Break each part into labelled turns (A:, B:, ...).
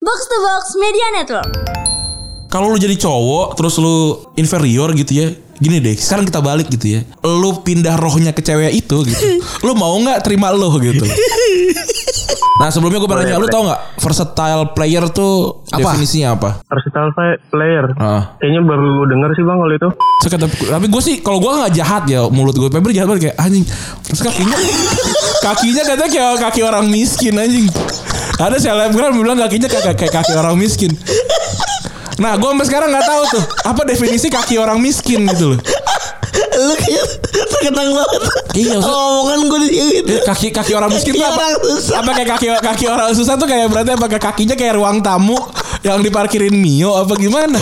A: Box to Box Media Network.
B: Kalau lu jadi cowok terus lu inferior gitu ya. Gini deh, sekarang kita balik gitu ya. Lu pindah rohnya ke cewek itu gitu. Lu mau nggak terima lu gitu. Nah sebelumnya gue pernah
C: Boleh,
B: nanya lu
C: boleh.
B: tau nggak versatile player tuh definisinya apa?
C: Versatile play- player.
B: Heeh.
C: Kayaknya baru lu denger sih bang kalau itu.
B: Saya kata, tapi gue sih kalau gue nggak jahat ya mulut gue Pebri jahat banget kayak anjing terus kakinya kakinya katanya kayak kaki orang miskin anjing ada selebgram bilang kakinya kayak, kayak kaki orang miskin nah gue sampai sekarang nggak tahu tuh apa definisi kaki orang miskin gitu loh
D: Lu kayak terkenang banget.
B: Iya, maksud-
D: Omongan gue di gitu.
B: kaki kaki orang miskin
D: Kaki
B: tuh apa
D: orang susah.
B: apa kayak kaki kaki orang susah tuh kayak berarti apa kayak kakinya kayak ruang tamu yang diparkirin mio apa gimana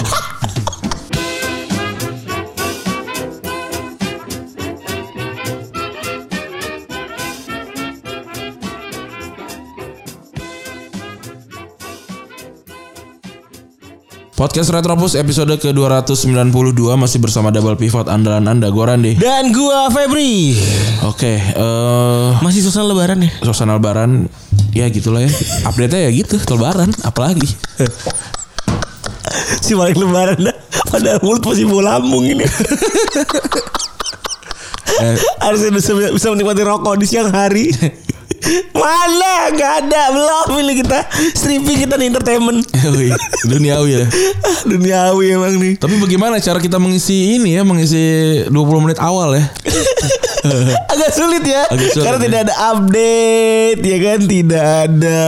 B: Podcast Retropus episode ke-292 masih bersama double pivot andalan Anda Goran deh.
D: Dan gua Febri.
B: Oke, eh
D: Masih susah lebaran ya?
B: suasana lebaran ya gitulah ya update-nya ya gitu lebaran apalagi
D: Si balik lebaran dah. Padahal mulut masih bau lambung ini.
B: Eh.
D: Harusnya bisa, bisa menikmati rokok di siang hari. Mana? Gak ada. Belum ini kita. Stripping kita di entertainment.
B: Wih, duniawi ya
D: Ah, Duniawi emang nih.
B: tapi bagaimana cara kita mengisi ini ya mengisi 20 menit awal ya
D: Agak sulit ya.
B: Agak sulit,
D: Karena
B: ya.
D: tidak ada update ya kan, tidak ada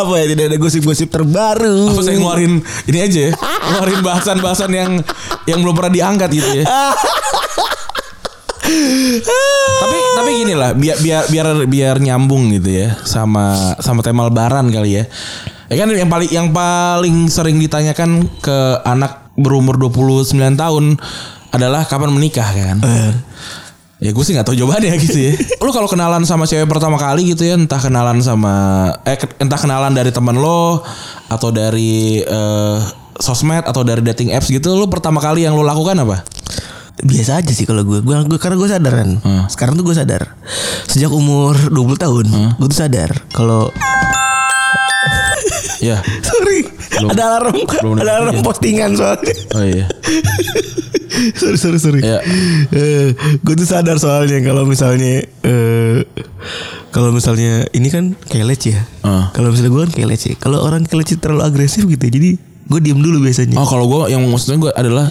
D: apa ya, tidak ada gosip-gosip terbaru.
B: apa saya ngeluarin ini aja ya ngeluarin bahasan-bahasan yang yang belum pernah diangkat gitu ya tapi tapi gini lah biar biar biar biar nyambung gitu ya sama sama tema lebaran kali ya ya kan yang paling yang paling sering ditanyakan ke anak berumur 29 tahun adalah kapan menikah kan ya gue sih nggak tahu jawabannya gitu ya lu kalau kenalan sama cewek pertama kali gitu ya entah kenalan sama eh ke- entah kenalan dari teman lo atau dari eh, sosmed atau dari dating apps gitu lu pertama kali yang lu lakukan apa
D: Biasa aja sih kalau gue. Gue gue- karena gue sadaran. Sekarang tuh gue sadar. Sejak umur 20 tahun, gue tuh sadar kalau
B: ya
D: sorry,
B: Belum-
D: ada alarm,
B: belum
D: ada alarm
B: dengerin.
D: postingan soalnya.
B: oh iya
D: sorry, sorry, sorry.
B: Iya.
D: Eh, gue tuh sadar soalnya kalau misalnya eh kalau misalnya ini kan kayak leci ya.
B: Ah.
D: Kalau misalnya gue kan kayak leci. Kalau orang kayak leci terlalu agresif gitu, ya, jadi gue diem dulu biasanya.
B: Oh kalau gue yang maksudnya gue adalah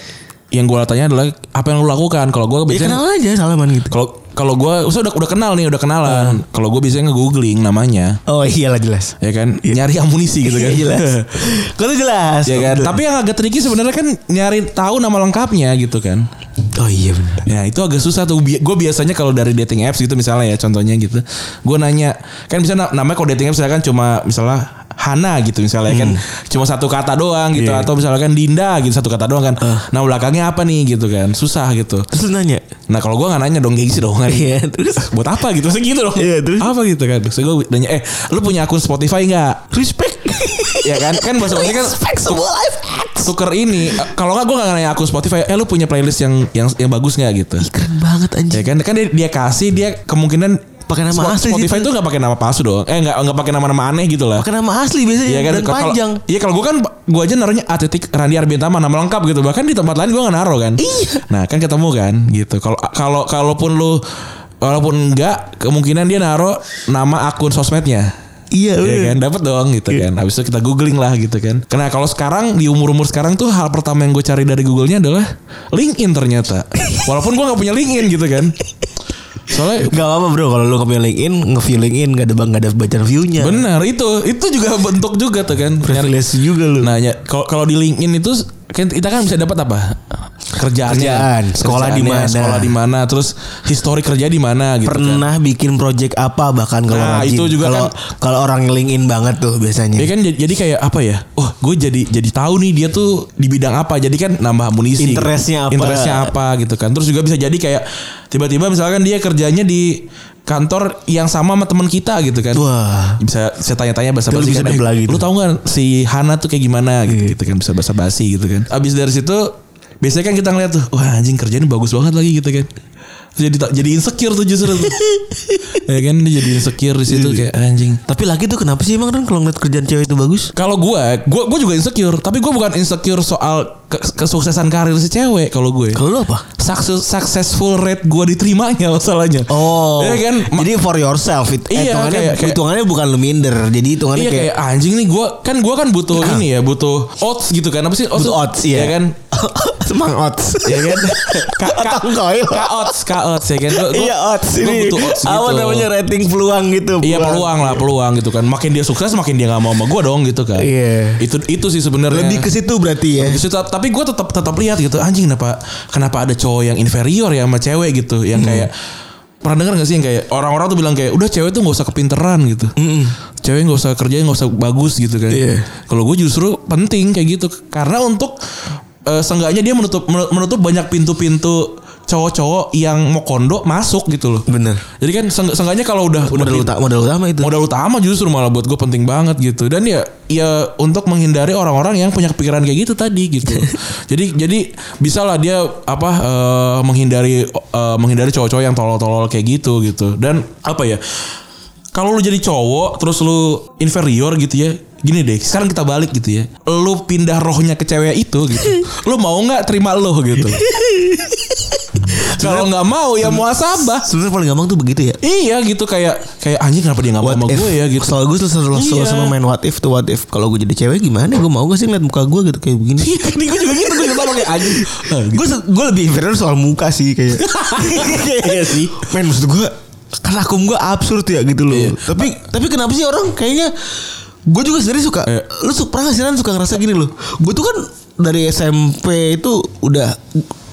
B: yang gue tanya adalah apa yang lu lakukan kalau gue
D: Ya
B: biasanya
D: kenal aja salaman gitu.
B: kalau kalau gue udah udah kenal nih udah
D: Hmm.
B: kenalan kalau gue biasanya nge-googling namanya
D: Oh iyalah jelas.
B: ya kan nyari amunisi gitu kan
D: Iya. jelas. Kau tuh jelas.
B: ya kan tapi yang agak tricky sebenarnya kan nyari tahu nama lengkapnya gitu kan
D: oh iya benar.
B: Ya itu agak susah tuh. Gue biasanya kalau dari dating apps gitu misalnya ya contohnya gitu. Gue nanya kan bisa na- namanya kalau dating apps kan cuma misalnya Hana gitu misalnya kan
D: Hmm.
B: cuma satu kata doang gitu
D: Iya.
B: atau misalkan Dinda gitu satu kata doang kan.
D: Ah.
B: Nah belakangnya apa nih gitu kan susah gitu.
D: Terus lu nanya.
B: Nah kalau gue nggak nanya dong gengsi dong kan.
D: Iya terus.
B: Buat apa gitu segitu dong.
D: Iya, terus?
B: Apa gitu kan. Terus gue nanya eh lu punya akun Spotify nggak?
D: Respect.
B: ya kan kan bahasa Inggrisnya kan
D: Respect semua life hacks.
B: tuker ini Eh, kalau nggak gue nggak nanya akun Spotify eh lu punya playlist yang yang yang bagus nggak gitu
D: Keren banget
B: Ya
D: anjing.
B: kan kan dia, dia kasih dia kemungkinan
D: Pakai nama
B: Spot-
D: asli
B: Spotify
D: gitu.
B: tuh nggak pakai nama palsu dong. Eh nggak nggak pakai nama-nama aneh gitu lah.
D: Pakai nama asli biasanya
B: Iya kan
D: dan
B: kalau-
D: panjang.
B: Iya kalau gue kan gue aja naruhnya Atletik Randy Arbientama nama lengkap gitu. Bahkan di tempat lain gue nggak naruh kan. Iya. Nah kan ketemu kan gitu. Kalau kalau kalaupun lu walaupun enggak kemungkinan dia naruh nama akun sosmednya.
D: Iya bener.
B: Iya kan dapat dong gitu kan. Habis itu kita googling lah gitu kan. Karena kalau sekarang di umur-umur sekarang tuh hal pertama yang gue cari dari Google-nya adalah LinkedIn ternyata. Walaupun gue nggak punya LinkedIn gitu kan. Soalnya
D: Gak apa-apa bro kalau lu nge-view LinkedIn, nge-view LinkedIn gak ada bang gak ada bacaan view-nya.
B: benar itu itu juga bentuk juga tuh kan.
D: Iya. Privilege juga lu.
B: Nah, ya, kalau kalau di LinkedIn itu kan kita kan bisa dapat apa? Kerjaannya,
D: Kerjaan, sekolah di
B: Kerjaannya,
D: mana.
B: sekolah di mana, terus histori kerja di mana gitu kan.
D: Pernah bikin project apa bahkan kalau
B: Nah,
D: rajin.
B: itu juga
D: kalau
B: kan-
D: kalau orang LinkedIn banget tuh biasanya.
B: Ya kan jadi, jadi kayak apa ya? Wah, gue jadi jadi tahu nih dia tuh di bidang apa. Jadi kan nambah amunisi.
D: Interestnya apa?
B: Interestnya apa gitu kan. Terus juga bisa jadi kayak tiba-tiba misalkan dia kerjanya di kantor yang sama sama teman kita gitu kan.
D: Wah.
B: Bisa saya tanya-tanya bahasa
D: Itu
B: basi
D: lebih
B: kan.
D: sedap
B: "Eh,
D: lagi
B: Lu
D: tuh."
B: tahu nggak si Hana tuh kayak gimana
D: Iya.
B: gitu, gitu kan bisa bahasa basi gitu kan. Abis dari situ biasanya kan kita ngeliat tuh, wah anjing kerjanya bagus banget lagi gitu kan. jadi tak- jadi insecure tuh justru tuh. ya kan dia jadi insecure di situ kayak
D: Iya.
B: anjing
D: Tapi laki tuh kenapa sih emang Ren kalau ngeliat kerjaan cewek itu bagus?
B: kalau gue, gue gue juga insecure, tapi gue bukan insecure soal ke- kesuksesan karir si cewek kalau gue.
D: Kalau lu apa?
B: Sukses successful rate gue diterimanya masalahnya.
D: Oh,
B: Iya kan? Ma-
D: Jadi for yourself itu.
B: Iya,
D: hitungannya,
B: kayak- kayak-
D: hitungannya bukan lu minder. Jadi hitungannya
B: Iya kayak,
D: kayak,
B: anjing nih gue kan gue kan butuh ini ya butuh odds gitu kan apa sih odds
D: Butuh odds, iya.
B: kan
D: Emang odds.
B: ya kan Ka- ka-
D: Otak koil.
B: ka odds ka odds ya kan Gua- gua-
D: Iya odds
B: gua
D: ini.
B: butuh odds
D: Apa
B: gitu.
D: namanya rating peluang gitu.
B: Iya peluang lah peluang gitu kan makin dia sukses makin dia nggak mau sama gue dong gitu kan
D: Iya.
B: itu itu sih sebenarnya
D: Lebih ke situ berarti ya.
B: Di situ, tapi gue tetap tetap lihat gitu anjing kenapa kenapa ada cowok yang inferior ya sama cewek gitu yang kayak pernah dengar gak sih yang kayak orang-orang tuh bilang kayak udah cewek tuh nggak usah kepinteran gitu cewek nggak usah kerja nggak usah bagus gitu kan
D: Iya.
B: kalau gue justru penting kayak gitu karena untuk eh, seenggaknya dia menutup menutup banyak pintu-pintu cowok-cowok yang mau kondo masuk gitu loh
D: Bener.
B: jadi kan seenggak- seenggaknya kalau udah udah
D: Modal
B: pin-
D: utama, modal utama itu.
B: modal utama justru malah buat gue penting banget gitu dan ya ya untuk menghindari orang-orang yang punya pikiran kayak gitu tadi gitu jadi jadi bisalah dia apa eh, menghindari eh, menghindari cowok-cowok yang tolol-tolol kayak gitu gitu dan apa ya kalau lu jadi cowok terus lu inferior gitu ya gini deh sekarang kita balik gitu ya lu pindah rohnya ke cewek itu gitu lu mau nggak terima lu gitu kalau nggak mau ya muasabah
D: Sebenarnya paling gampang tuh begitu ya.
B: Iya gitu kayak kayak anjing kenapa dia nggak mau
D: What
B: sama
D: if
B: gue ya gitu.
D: Soal gue selalu selalu, selalu
B: Iya.
D: sama main what if tuh what if. Kalau gue jadi cewek gimana? Gue mau gak sih ngeliat muka gue gitu kayak begini?
B: Iya, ini gue juga gitu gue juga sama kayak anjing. Ah, gitu.
D: gue gue lebih inferior soal muka sih kayak
B: Ah,
D: iya sih men maksud gue karena akum gue absurd ya gitu loh
B: Iya.
D: tapi tapi kenapa sih orang kayaknya gue juga sendiri suka
B: Iya.
D: lu suka pernah nggak sih Ran suka ngerasa gini loh gue tuh kan dari SMP itu udah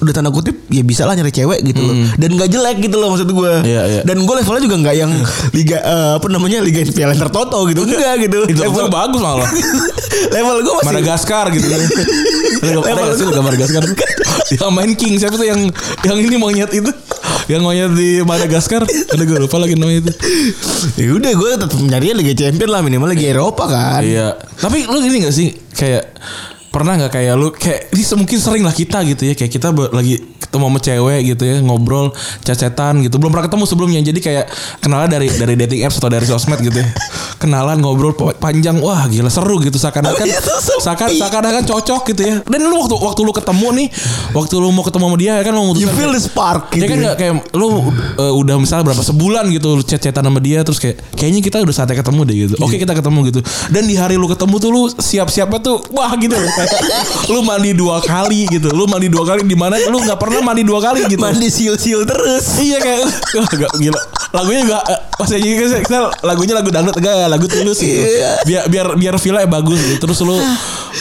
D: udah tanda kutip ya bisa lah nyari cewek gitu loh dan gak jelek gitu loh maksud gue
B: Mm-hmm. Iya, iya.
D: dan gue levelnya juga nggak yang liga eh, apa namanya liga IPL yang tertoto gitu enggak gitu
B: Itu level Eh,
D: level,
B: bagus malah.
D: level gue masih
B: Madagaskar gitu. Ada ada nggak sih udah Madagaskar. yang main King siapa tuh yang yang ini monyet itu? Yang monyet di Madagaskar. Ada gue lupa lagi namanya itu.
D: ya udah gue tetap nyarinya liga champion lah minimal liga Eropa kan
B: Iya. Tapi lu gini gak sih kayak pernah nggak kayak lu kayak ini se- mungkin sering lah kita gitu ya kayak kita be- lagi ketemu sama cewek gitu ya ngobrol cacetan gitu belum pernah ketemu sebelumnya jadi kayak kenalan dari dari dating apps atau dari sosmed gitu ya kenalan ngobrol po- panjang wah gila seru gitu seakan-akan
D: Oh, iya, tuh sepi.
B: seakan seakan-akan cocok gitu ya dan lu waktu waktu lu ketemu nih waktu lu mau ketemu sama dia ya kan lu
D: You
B: memutuskan
D: feel the spark gitu.
B: Ya kan gak kayak lu uh, udah misalnya berapa sebulan gitu lu chat-chatan sama dia terus kayak kayaknya kita udah saatnya ketemu deh gitu. Oke
D: Iya.
B: kita ketemu gitu. Dan di hari lu ketemu tuh lu siap-siapnya tuh wah gitu loh. Kayak lu mandi dua kali gitu. Lu mandi dua kali di mana lu nggak pernah mandi dua kali gitu.
D: Mandi siul-siul terus.
B: Iya kayak wah, gak, gila. Lagunya juga eh, pas aja gitu, kita lagunya lagu dangdut enggak lagu tulus gitu.
D: Iya.
B: Biar biar biar feel-nya bagus gitu. Terus
D: Ah.
B: lu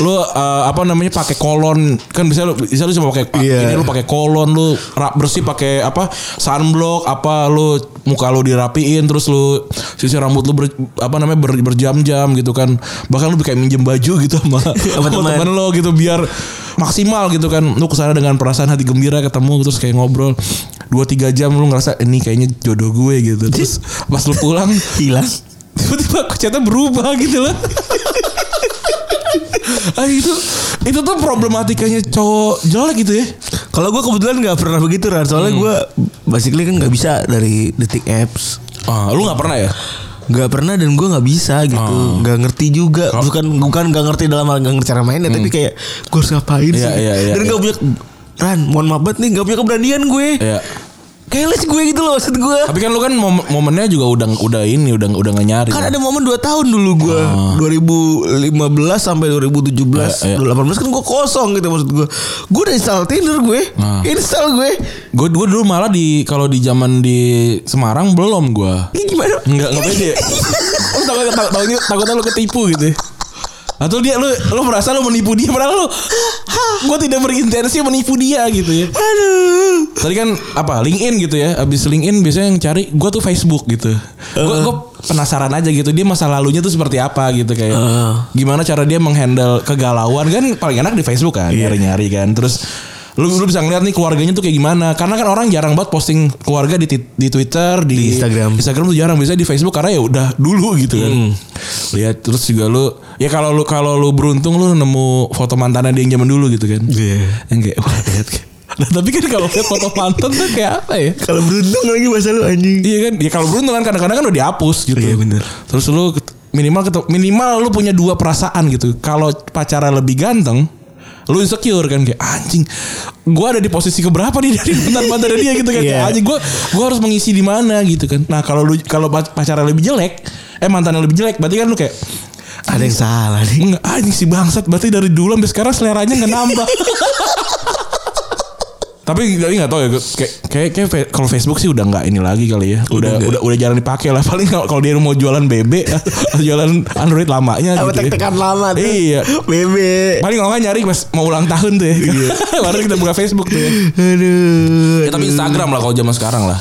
B: lu eh, apa namanya pakai kolon kan bisa lu bisa lu cuma pakai "Ah,
D: Iya.
B: ini lu pakai kolon lu rap bersih pakai apa sunblock apa lu muka lu dirapiin terus lu sisir rambut lu ber- apa namanya ber- berjam-jam gitu kan bahkan lu kayak minjem baju gitu sama sama
D: teman.
B: teman lo gitu biar maksimal gitu kan lu kesana dengan perasaan hati gembira ketemu terus kayak ngobrol dua tiga jam lu ngerasa ini kayaknya jodoh gue gitu terus pas lu pulang
D: Hilang.
B: tiba-tiba kecetnya berubah gitu loh ah itu itu tuh problematikanya cowok jelek gitu ya
D: Kalau gue kebetulan nggak pernah begitu Ran. Soalnya
B: Hmm.
D: gue basically kan nggak bisa dari detik apps.
B: ah lu nggak pernah ya
D: Gak pernah dan gue nggak bisa gitu.
B: Oh.
D: Nggak ngerti juga. Bukan bukan nggak ngerti dalam hal nggak ngerti cara mainnya. Tapi kayak gue harus
B: Hmm.
D: ngapain
B: Iya,
D: sih?
B: iya, iya,
D: dan nggak
B: iya.
D: punya Ran, mohon maaf banget nih nggak punya keberanian gue.
B: Iya.
D: Kayak les gue gitu loh maksud gue.
B: tapi kan lu kan mom- momennya juga udah udah ini udah udah nggak nyari ya.
D: Kan ada momen 2 tahun dulu gue 2015 sampai 2017
B: Oh. Iya, iya.
D: 2018 kan gue kosong gitu maksud gue Gue udah install Tinder gue
B: Ah.
D: Install gue
B: gue gue dulu malah di kalau di zaman di Semarang belum gue
D: Ini gimana?
B: Enggak enggak pede. lu takut takut takutnya, takutnya lu ketipu gitu. ya. Atau dia lu lu merasa lu menipu dia padahal lu gua tidak berintensi menipu dia gitu ya.
D: Aduh
B: Tadi kan apa LinkedIn gitu ya. Abis LinkedIn biasanya yang cari gua tuh Facebook gitu. Gua, gua penasaran aja gitu dia masa lalunya tuh seperti apa gitu kayak.
D: Eh.
B: Gimana cara dia menghandle kegalauan kan paling enak di Facebook kan
D: Iya.
B: nyari-nyari kan. Terus lu, lu bisa ngeliat nih keluarganya tuh kayak gimana karena kan orang jarang banget posting keluarga di, ti- di Twitter di,
D: Di Instagram. Hmm.
B: Instagram tuh jarang biasanya di Facebook karena ya udah dulu gitu kan. Lihat terus juga lu ya kalau lu kalau lu beruntung lu nemu foto mantannya dia yang zaman dulu gitu kan.
D: Iya.
B: Yang kayak wah lihat kayak, Nah tapi kan kalau lihat foto mantan tuh kayak apa ya?
D: Kalau beruntung lagi bahasa lu anjing.
B: Iya kan? Ya kalau beruntung kan kadang-kadang kan udah dihapus gitu.
D: Iya, bener.
B: Terus lu ket- minimal ketu- minimal lu punya dua perasaan gitu. Kalau pacaran lebih ganteng, lu insecure kan kayak anjing. Gua ada di posisi keberapa nih dari mantan-mantan dia gitu kan. Kayak,
D: Iya.
B: anjing gua gua harus mengisi di mana gitu kan. Nah, kalau lu kalau pac- pacaran lebih jelek, eh mantan lebih jelek, berarti kan lu kayak
D: Ada yang salah nih.
B: Enggak, anjing si bangsat berarti dari dulu sampai sekarang seleranya nggak nambah. tapi tapi nggak tahu ya kayak kayak, kayak fe- kalau Facebook sih udah nggak ini lagi kali ya udah udah udah, jarang dipakai lah paling kalau kalau dia mau jualan BB atau jualan Android lamanya
D: Apa
B: gitu ya.
D: tek-tekan lama tuh.
B: Iya.
D: Bebe.
B: paling kalau nggak nyari pas mau ulang tahun tuh ya
D: Iya.
B: baru kita buka Facebook tuh ya.
D: Aduh.
B: Ya, tapi Instagram lah kalau zaman sekarang lah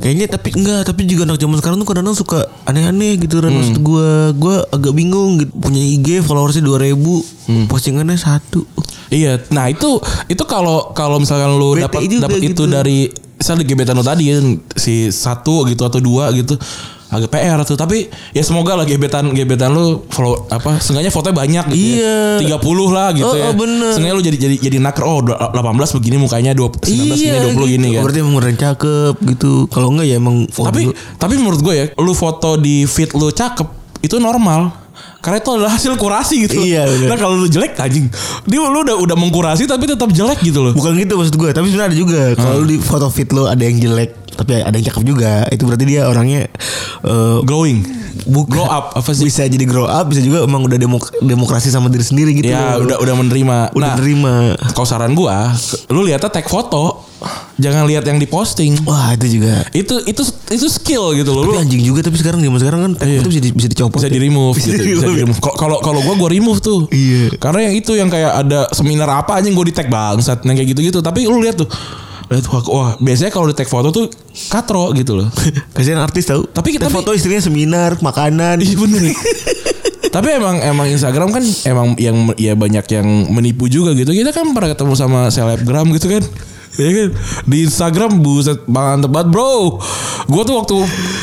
D: Kayaknya tapi enggak, tapi juga anak zaman sekarang tuh kadang-kadang suka aneh-aneh gitu kan maksud gua. Gua agak bingung gitu. Punya IG followersnya 2000, Hmm. postingannya satu.
B: Iya, nah itu itu kalau kalau misalkan lu
D: Bete
B: dapat
D: juga
B: dapat itu
D: gitu.
B: dari misalnya di gebetan lu tadi ya, si satu gitu atau dua gitu agak PR tuh tapi ya semoga lah gebetan gebetan lu follow apa seenggaknya fotonya banyak gitu
D: Iya.
B: ya. 30 lah gitu
D: Oh,
B: ya.
D: oh, bener.
B: Seenggaknya lu jadi jadi jadi naker oh du- 18 begini mukanya 20 19 gini 20 gini
D: gitu.
B: kan.
D: Berarti emang orang cakep gitu. Kalau enggak ya emang
B: Tapi
D: waduh.
B: tapi menurut gue ya, lu foto di feed lu cakep itu normal. Karena itu adalah hasil kurasi gitu.
D: Iya, bener.
B: Nah kalau lu jelek anjing, dia lu udah udah mengkurasi tapi tetap jelek gitu loh.
D: bukan gitu maksud gue, tapi sebenarnya ada juga. Kalau lu di foto fit lo ada yang jelek, tapi ada yang cakep juga. Itu berarti dia orangnya eh,
B: Growing.
D: bukan-
B: Grow up apa sih?
D: Bisa jadi grow up, bisa juga emang udah demok- demokrasi sama diri sendiri gitu.
B: Ya
D: loh.
B: udah udah menerima.
D: udah
B: nah,
D: terima.
B: kalau saran gua, lu lihatnya tag foto, jangan lihat yang diposting.
D: Wah, itu juga.
B: Itu itu itu skill gitu loh. Lu Iya.
D: Tapi anjing juga tapi sekarang zaman sekarang kan itu bisa di- bisa dicopot.
B: bisa
D: ya.
B: di remove
D: Bisa
B: gitu.
D: di
B: Bisa
D: remove.
B: di remove. Kalau- Kalau kalau gua gua remove tuh.
D: Iya.
B: Karena yang itu yang kayak ada seminar apa aja yang gua di tag bangsat yang kayak gitu-gitu. Tapi lu lihat tuh. Lihat wah, wah, biasanya kalau di tag foto tuh katro gitu loh.
D: Kasihan artis tahu.
B: Tapi-
D: kita
B: tapi-
D: foto istrinya seminar, makanan.
B: Iya bener ya. Tapi emang emang Instagram kan emang yang ya banyak yang menipu juga gitu. Kita kan pernah ketemu sama selebgram gitu kan. Iya kan? Di Instagram buset mantep banget bro. Gue tuh waktu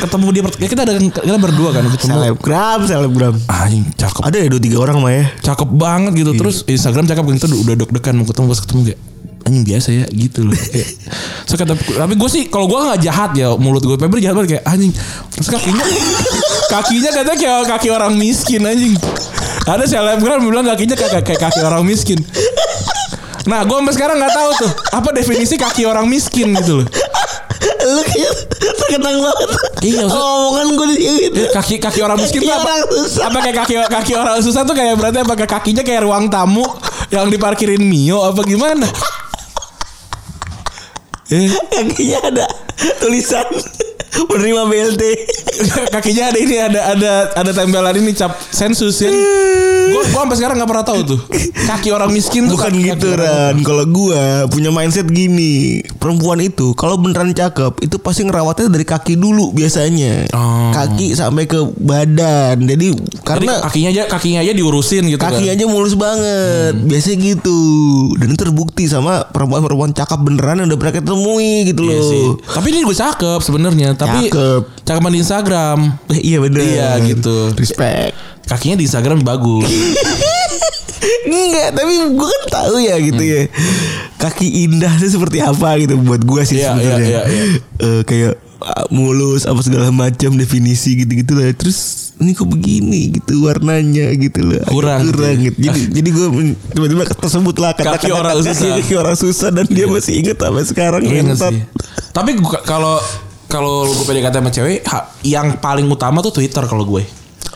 B: ketemu dia pert- ya kita ada kita berdua kan ketemu. Ah,
D: Selebgram, selebgram.
B: Anjing cakep.
D: Ada ya dua tiga orang mah ya.
B: Cakep banget gitu.
D: Iya.
B: Terus Instagram cakep gitu udah deg-degan mau ketemu pas ketemu kayak anjing biasa ya gitu loh. Kayak, so, kata, tapi gue sih kalau gue nggak jahat ya mulut gue Febri jahat banget kayak anjing. Terus kakinya kakinya katanya kayak kaki orang miskin anjing. Ada selebgram bilang kakinya kayak, kayak kaki orang miskin. Nah, gue sampai sekarang nggak tahu tuh apa definisi kaki orang miskin gitu loh.
D: Lu kayak terkenang banget.
B: Iya, maksud- Iya, eh,
D: Omongan gue di gitu.
B: kaki kaki orang miskin
D: Oh. Kaki
B: tuh apa,
D: orang susah.
B: apa kayak kaki kaki orang susah tuh kayak berarti apa kayak kakinya kayak ruang tamu yang diparkirin mio apa gimana? Eh,
D: Kakinya ada tulisan penerima BLT.
B: kakinya ada ini ada ada ada tempelan ini cap sensus ya. Gua, gua sampai sekarang nggak pernah tahu tuh. Kaki orang miskin tuh
D: Bukan
B: kaki-
D: gitu
B: kaki orang-
D: Ran Kalau gua punya mindset gini Perempuan itu Kalau beneran cakep Itu pasti ngerawatnya dari kaki dulu biasanya
B: Oh.
D: Kaki sampai ke badan Jadi
B: Jadi
D: karena
B: kakinya aja kakinya aja diurusin gitu kan. Hmm.
D: Kaki aja mulus banget Biasanya gitu Dan itu terbukti sama perempuan-perempuan cakep beneran Yang udah pernah ketemui gitu loh
B: Iya sih. Tapi ini gue cakep sebenarnya, tapi
D: Cakep.
B: cakepan di Instagram.
D: Eh, Iya bener
B: Iya, gitu.
D: Respect
B: Kakinya di Instagram bagus.
D: Enggak tapi gue kan tahu ya gitu ya Kaki indah tuh seperti apa gitu Buat gue sih
B: Iya,
D: sebenarnya
B: iya, iya,
D: Eh, Kayak ah, mulus apa segala macam definisi gitu-gitu lah terus ini kok begini gitu warnanya gitu loh Agak
B: Kurang. ya.
D: kurang gitu. jadi jadi gue tiba-tiba tersebut lah kata
B: Kaki orang susah.
D: kaki orang susah dan dia masih inget sampai sekarang ya.
B: Iya nggak
D: ngentot.
B: sih? Tapi gua- kalau kalau gue PDKT sama cewek, ha- yang paling utama tuh Twitter kalau gue.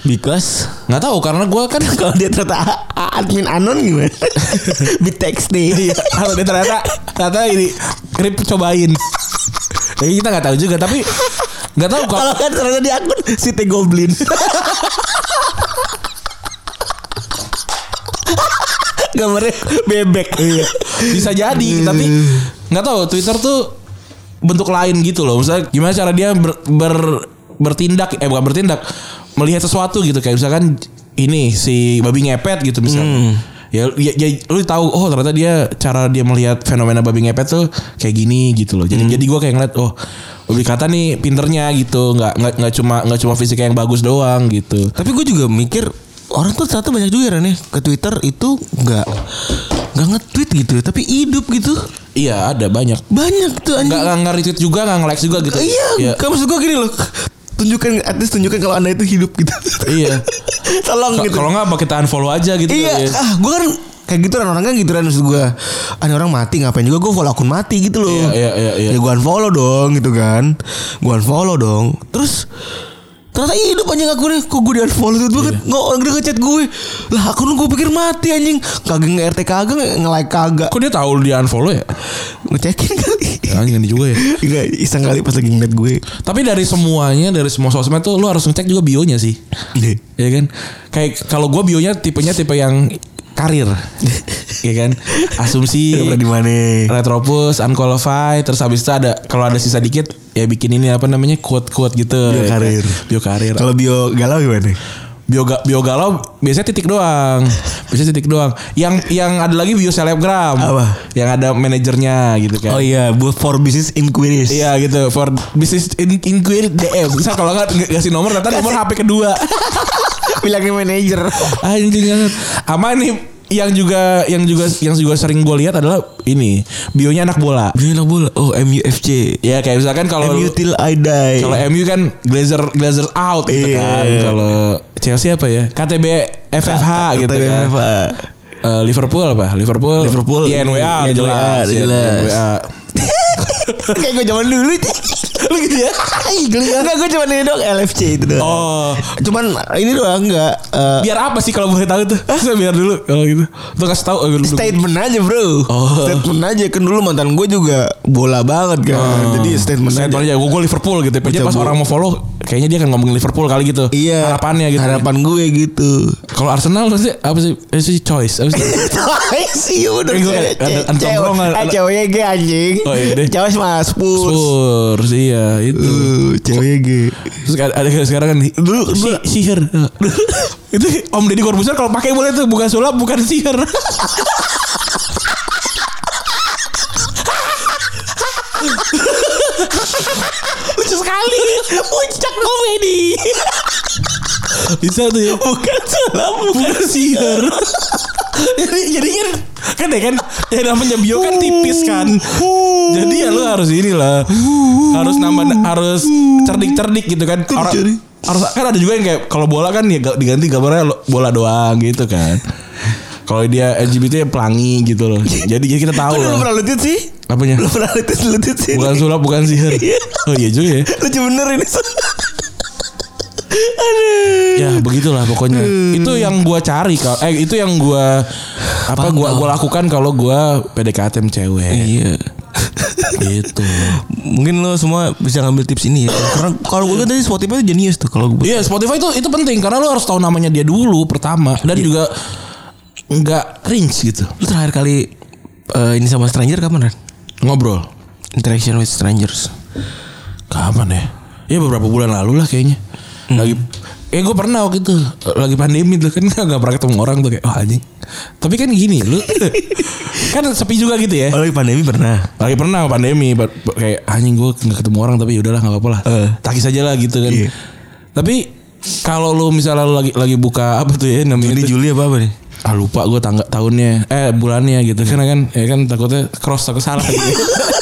D: Because
B: Nggak tahu karena gue kan
D: kalau dia ternyata a- a- admin anon gimana? Di text nih.
B: kalau dia ternyata ternyata ini krip cobain. Jadi kita nggak tahu juga tapi nggak tahu kalau
D: Kalau kan ternyata di akun si T Goblin. Gambarnya bebek. Iya.
B: bisa jadi tapi nggak tahu Twitter tuh bentuk lain gitu loh. Misalnya gimana cara dia ber, ber- bertindak eh bukan bertindak melihat sesuatu gitu kayak misalkan ini si babi ngepet gitu
D: Hmm.
B: misalnya. Ya, ya, ya, lu tahu oh ternyata dia cara dia melihat fenomena babi ngepet tuh kayak gini gitu loh.
D: Hmm.
B: Jadi jadi gua kayak ngeliat oh lebih kata nih pinternya gitu nggak nggak nggak cuma nggak cuma fisika yang bagus doang gitu
D: Tapi gue juga mikir orang tuh ternyata banyak juga Ren, ya ke Twitter itu nggak nggak nge-tweet gitu ya, tapi hidup gitu
B: Iya ada banyak.
D: banyak tuh anjing.
B: Nggak nggak retweet juga nggak nge-like juga gitu.
D: Iya,
B: Iya.
D: kan maksud gue gini loh. Tunjukkan, at least tunjukkan kalau anda itu hidup gitu.
B: Iya.
D: Tolong
B: Ka-
D: gitu.
B: Kalau nggak apa kita unfollow aja gitu.
D: iya,
B: kali ya.
D: ah gue kan kayak gitu kan orang kan gitu kan maksud gue. Ada orang mati ngapain juga gue follow akun mati gitu loh.
B: Iya, iya, iya, iya.
D: Ya gue unfollow dong gitu kan. Gue unfollow dong. Terus Ternyata hidup anjing akunnya Kok gue di unfollow
B: Iya.
D: tuh banget Nggak orang gede ngechat gue Lah akun gue pikir mati anjing Kagak nge-RT kagak Nge-like kagak
B: Kok dia tahu dia unfollow ya?
D: Ngecekin kali
B: Anjing ini juga ya.
D: Enggak iseng kali pas lagi ngeliat gue
B: Tapi dari semuanya dari semua sosmed tuh lu harus ngecek juga bionya sih. Iya kan? Kayak kalau gua bionya tipenya tipe yang karir. Iya kan? Asumsi
D: Daripada di mana ya.
B: Retropus, unqualified, terus habis itu ada kalau ada sisa dikit ya bikin ini apa namanya quote-quote gitu.
D: Bio karir.
B: Bio karir.
D: Kalau bio galau gimana?
B: Bio, ga- bio galau biasanya titik doang. Biasanya titik doang. Yang yang ada lagi bio selebgram.
D: Apa?
B: Yang ada manajernya gitu kan.
D: Oh iya, buat for business inquiries.
B: Iya gitu for business in inquiry DM. Bisa kalau nggak ng- ngasih nomor ternyata nomor HP kedua.
D: Bilangin manajer.
B: Anjing banget. Ama nih yang juga yang juga yang juga sering gue lihat adalah ini bionya anak bola.
D: Bilang bola. Oh, MUFC.
B: Ya kayak misalkan kalau
D: MU till I die.
B: kalau MU kan Glazer Glazer out gitu
D: Iya.
B: kan. Kalau Chelsea apa ya? KTB FFH gitu kan. Eh, Liverpool apa? Liverpool. Iya,
D: Liverpool. Iya,
B: YNWA
D: YNWA,
B: jelas. iya,
D: jelas.
B: YNWA.
D: Kayak gue zaman dulu itu. Lu gitu ya? Ih, geli banget. Enggak, gue cuman ini dong LFC itu doang.
B: Oh,
D: Cuman ini doang enggak eh,
B: biar apa sih kalau boleh tahu tuh? Biar dulu kalau gitu. Tuh kasih tahu. eh, dulu- dulu.
D: statement aja, Bro.
B: Oh.
D: Statement aja kan dulu mantan gue juga bola banget kan. Jadi statement,
B: Hmm. Saya aja
D: aja.
B: gue Liverpool gitu. Jadi
D: Baca
B: pas
D: bu-
B: orang mau follow, kayaknya dia akan ngomongin Liverpool kali gitu.
D: Iya.
B: Harapannya gitu.
D: Harapan gue gitu.
B: Kalau Arsenal pasti apa sih? Apa sih choice? Apa sih?
D: sih udah
B: Ini gue kayak ada- ada tongkrongan, ada-
D: cewek gue anjing
B: Oh, iya deh.
D: cewek sama spurs
B: Spurs iya itu.
D: Uh, cewek gue
B: Terus ada, ada sekarang kan
D: Dulu-
B: si,
D: dulu-
B: sihir. itu Om Deddy Corbuzier kalau pakai boleh tuh bukan sulap bukan sihir.
D: lucu sekali puncak komedi
B: Bisa tuh ya.
D: bukan sulap bukan
B: Sihir. jadi, jadi kan kan ya kan yang namanya bio kan tipis kan. Jadi ya lu harus inilah harus nambah harus cerdik-cerdik gitu kan. Orang
D: Cerdik.
B: harus kan ada juga yang kayak kalau bola kan ya ga- diganti gambarnya lo- bola doang gitu kan. Kalau dia LGBT ya pelangi gitu loh. Jadi jadi kita tahu
D: Kok lu
B: loh.
D: pernah lutut sih
B: Apanya?
D: lu pernah lutut lutut sih
B: Bukan sulap, bukan sihir. Oh iya juga ya.
D: lucu bener ini aduh
B: Ya begitulah pokoknya. Itu yang gua cari kalau eh itu yang gua apa gua gua lakukan kalau gua PDKT sama cewek.
D: iya
B: gitu.
D: mungkin lo semua bisa ngambil tips ini ya karena kalau gue tadi Spotify itu jenius tuh kalau gue
B: Iya Spotify itu itu penting karena lu harus tahu namanya dia dulu pertama dan juga nggak cringe gitu
D: lu terakhir kali eh, ini sama stranger kapan Ran?
B: ngobrol.
D: interaction with strangers
B: Kapan ya? Ya beberapa bulan lalu lah kayaknya. Lagi Eh gue pernah waktu itu lagi pandemi tuh kan nggak pernah ketemu orang tuh kayak oh anjing. Tapi kan gini lu kan sepi juga gitu ya.
D: Eh, lagi pandemi pernah
B: Lagi pernah pandemi ba- ba- kayak anjing gue nggak ketemu orang tapi yaudahlah nggak apa-apa lah.
D: Eh.
B: Takis aja lah gitu kan.
D: Iya.
B: Tapi kalau lu misalnya lu lagi lagi buka apa tuh ya namanya
D: Ini
B: tuh?
D: Juli apa apa nih?
B: ah lupa gue tangga tahunnya eh bulannya gitu karena kan ya kan takutnya cross takut salah gitu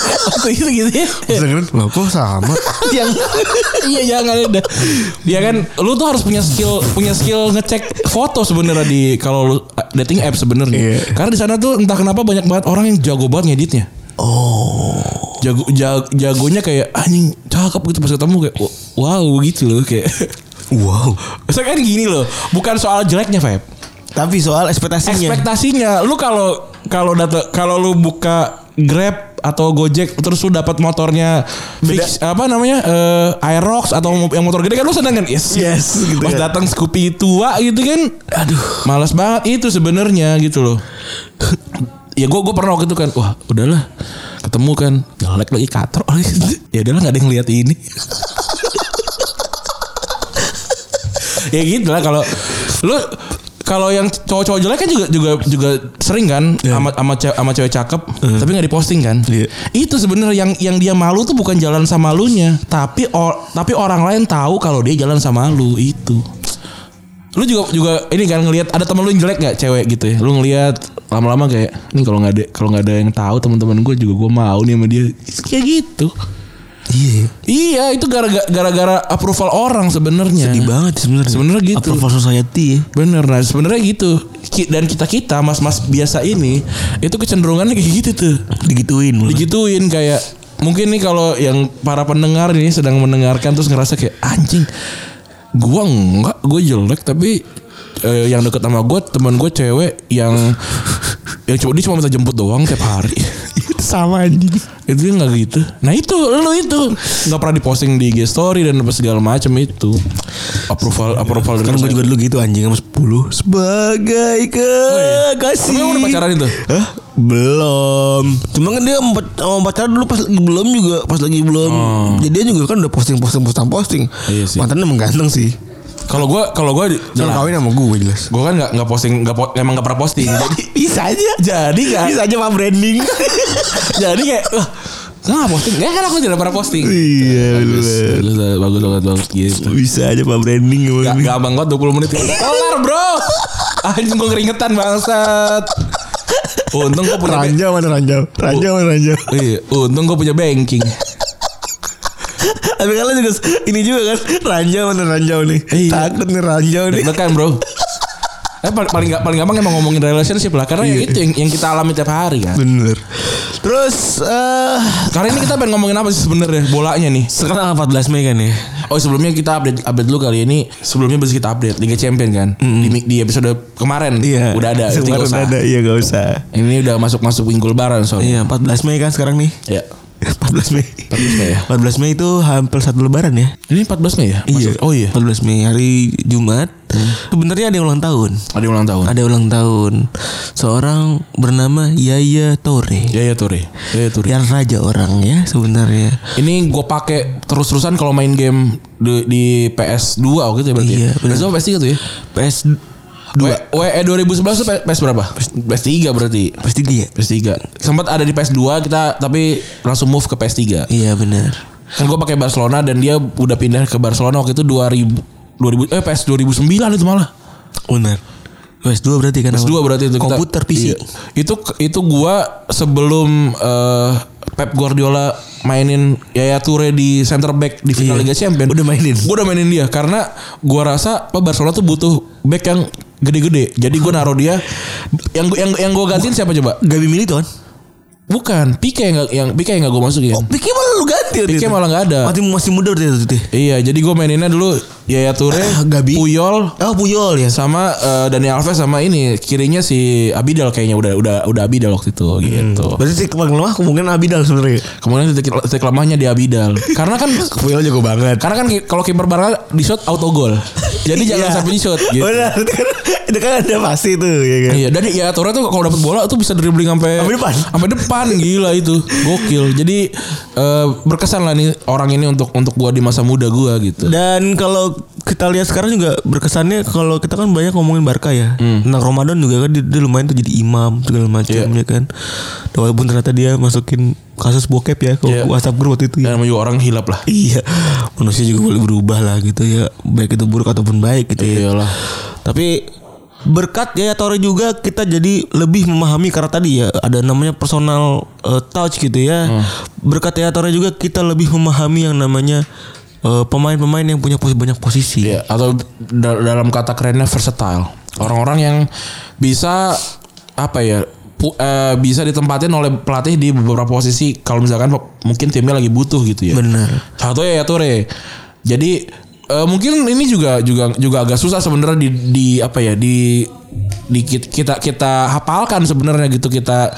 B: gitu gitu ya
D: Instagram lah kok sama?
B: yang iya jangan ada ya kan lu tuh harus punya skill punya skill ngecek foto sebenarnya di kalau lu eh, dating app sebenarnya
D: Iya.
B: karena di sana tuh entah kenapa banyak banget orang yang jago banget ngeditnya oh jago ja- jagonya kayak anjing cakep gitu pas ketemu kayak wow gitu loh kayak
D: wow.
B: Saya kan gini loh, bukan soal jeleknya, Feb
D: Tapi soal ekspektasinya.
B: ekspektasinya lu kalau kalau data kalau lu buka Grab atau Gojek terus lu dapat motornya fix, apa namanya eh, Aerox atau mo- yang motor gede kan lu seneng kan yes
D: Yes, gitu
B: pas
D: kan.
B: datang Scoopy tua gitu kan
D: Aduh.
B: malas banget itu sebenarnya gitu loh ya gue gue pernah waktu itu kan wah udahlah ketemu kan jelek lagi katro ya udahlah nggak ada yang lihat ini ya gitu lah kalau lu kalau yang cowok-cowok jelek kan juga juga juga sering kan sama sama ce- sama cewek cakep tapi nggak diposting kan
D: Iya.
B: itu sebenarnya yang yang dia malu tuh bukan jalan sama lunya tapi or- tapi orang lain tahu kalau dia jalan sama lu itu lu juga juga ini kan ngelihat ada temen lu yang jelek nggak cewek gitu ya lu ngelihat lama-lama kayak nih kalau nggak ada kalau nggak ada yang tahu teman-teman gue juga gue mau nih sama dia kayak gitu
D: Iya.
B: iya itu gara-gara gara-gara approval orang sebenarnya
D: Sedih banget sih sebenarnya.
B: Sebenarnya gitu.
D: Iya. Approval society ya.
B: Bener, nah sebenarnya gitu. Ki- Dan kita kita mas-mas biasa ini itu kecenderungannya kayak gitu tuh.
D: Digituin. malah.
B: Digituin kayak mungkin nih kalau yang para pendengar ini sedang mendengarkan terus ngerasa kayak anjing. Gua enggak, gue jelek tapi eh, yang deket sama gue teman gue cewek yang yang cuma dia cuma minta jemput doang tiap hari.
D: Itu sama anjing.
B: itu dia nggak gitu. Nah itu lu itu nggak pernah diposting di IG story dan apa segala macam itu. Approval approval
D: Kan gue juga dulu gitu anjing sama 10 Sebagai
B: Oh,
D: kekasih
B: iya. Emang udah pacaran itu?
D: Hah? Belum Cuma kan dia sama pac- sama pacaran dulu pas lagi belum juga Pas lagi belum Jadian juga kan udah posting posting posting posting
B: Oh. Iya sih.
D: Mantannya emang ganteng sih
B: Kalau gue kalau gue
D: Jangan kawin sama gue jelas
B: Gue kan gak, nggak posting nggak po- Emang gak pernah posting
D: Iya.
B: Jadi
D: Bisa aja
B: Jadi gak
D: Bisa aja sama branding
B: Jadi kayak Wah Gak Eh, nggak posting Ya kan aku tidak pernah posting
D: Iya bener.
B: Terus bagus banget bagus gitu
D: Bisa aja sama branding emang.
B: Gak, gak abang gue 20 menit Kelar bro Anjing gue keringetan bangsat Untung gue punya ba-
D: Ranjau mana ranjau Ranjau mana ranjau
B: Iya, untung gue punya banking.
D: Tapi kalian juga Ini juga kan Ranjau mana ranjau nih
B: Iya.
D: Takut nih ranjau nih
B: Deg-degan bro. Eh, paling paling gak, paling gampang emang ngomongin relationship lah karena ya
D: Iya.
B: itu yang, yang kita alami tiap hari kan.
D: Bener. Terus eh
B: Karena ini kita pengen ngomongin apa sih sebenarnya bolanya nih?
D: sekarang 14 Mei kan ya.
B: Oh sebelumnya kita update update dulu kali ini sebelumnya bisa kita update Liga Champion kan di, mi- di episode kemarin
D: Iya.
B: udah ada jadi
D: Sekarang
B: nggak
D: udah
B: usah.
D: ada. Iya gak usah.
B: ini udah masuk masuk minggu lebaran soalnya
D: Iya 14 Mei kan sekarang nih.
B: ya
D: 14 Mei.
B: 14 Mei ya.
D: 14 Mei itu hampir satu lebaran ya.
B: ini 14 Mei ya Masuk- oh iya
D: 14 Mei hari Jumat. Sebenarnya ada yang ulang tahun.
B: ada ulang tahun
D: Ada ulang tahun seorang bernama Yaya Tore.
B: ya ya Turi ya ya Turi
D: Yang raja orang ya sebenarnya.
B: ini gue pakai terus terusan kalau main game di, di PS 2 waktu itu ya berarti
D: Iya,
B: ya.
D: benar.
B: PS 2 PS 3 tuh ya E
D: PS
B: dua WE 2011 tuh PS berapa PS 3 berarti
D: PS 3 ya.
B: PS 3 sempat ada di PS 2 kita tapi langsung move ke PS 3
D: Iya benar.
B: Kan gue pakai Barcelona dan dia udah pindah ke Barcelona waktu itu 2000 2000 eh PS 2009 itu malah.
D: Benar. PS 2 berarti kan.
B: PS2 berarti itu kita-
D: Komputer PC.
B: Iya. Itu itu gua sebelum eh, Pep Guardiola mainin Yaya Toure di center back di final
D: Iya.
B: Liga Champions.
D: Udah mainin.
B: Gue udah mainin dia karena gua rasa apa Barcelona tuh butuh back yang gede-gede. Jadi gue naruh dia yang yang yang gue gantiin siapa coba?
D: Gabi kan? Militon.
B: Bukan Pique yang nggak- yang Pique yang gak gue masukin.
D: Pique malah lu ganti waktu
B: Pique
D: itu.
B: malah nggak ada.
D: Masih masih muda berarti itu. Tih.
B: Iya, jadi gue maininnya dulu Yaya Toure,
D: Ah, Gabi.
B: Puyol,
D: Oh Puyol ya.
B: sama eh, Dani Alves sama ini kirinya si Abidal kayaknya udah udah udah Abidal waktu itu
D: Hmm.
B: gitu.
D: Berarti sih paling lemah kemungkinan Abidal sebenarnya.
B: Kemudian titik, titik lemahnya di Abidal. karena kan
D: Puyol jago banget.
B: karena kan ki- kalau kiper Barca di shot auto goal. Jadi jangan
D: Iya.
B: sampai di shot gitu.
D: Benar, itu kan, itu kan ada pasti tuh ya kan.
B: Iya, dan ya Toure tuh kalau dapat bola tuh bisa dribbling sampai
D: Sampai depan.
B: Sampai depan gila itu. Gokil. Jadi eh, berkesan lah nih orang ini untuk untuk gua di masa muda gua gitu.
D: Dan kalau kita lihat sekarang juga berkesannya kalau kita kan banyak ngomongin Barca ya. Tentang Ramadan juga kan dia, dia lumayan tuh jadi imam segala macam
B: Hmm. Iya.
D: ya kan. Dan Walaupun ternyata dia masukin kasus bokep ya ke
B: Iya.
D: WhatsApp grup waktu itu
B: Dan
D: ya.
B: namanya juga orang hilap lah.
D: Iya, manusia juga boleh berubah lah gitu ya, baik itu buruk ataupun baik gitu ya.
B: Iyalah.
D: Tapi berkat Yaya Tore juga kita jadi lebih memahami karena tadi ya ada namanya personal eh, touch gitu ya. Berkat Yaya Tore juga kita lebih memahami yang namanya eh, pemain-pemain yang punya pos- banyak posisi.
B: Iya, atau da- dalam kata kerennya versatile. Orang-orang yang bisa apa ya? pu- eh, bisa ditempatin oleh pelatih di beberapa posisi kalau misalkan pe- mungkin timnya lagi butuh gitu ya.
D: Bener.
B: Contohnya ya Ture. Jadi eh, mungkin ini juga juga juga agak susah sebenarnya di di apa ya di di kit- kita kita hafalkan sebenarnya gitu kita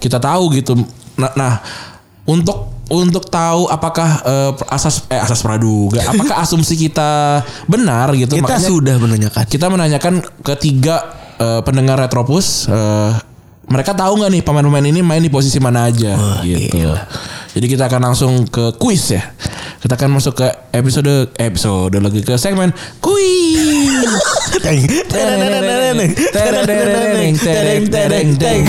B: kita tahu gitu. Nah, nah, untuk untuk tahu apakah eh, asas eh asas praduga apakah asumsi kita benar gitu
D: Kita
B: makanya
D: sudah menanyakan.
B: kita menanyakan ketiga eh, pendengar Retropus eh, mereka tahu nggak nih pemain-pemain ini main di posisi mana aja gitu. Jadi kita akan langsung ke kuis ya. Kita akan masuk ke episode episode lagi ke segmen kuis.
D: Teng. Tereng, tereng, tereng, tereng, tereng, tereng.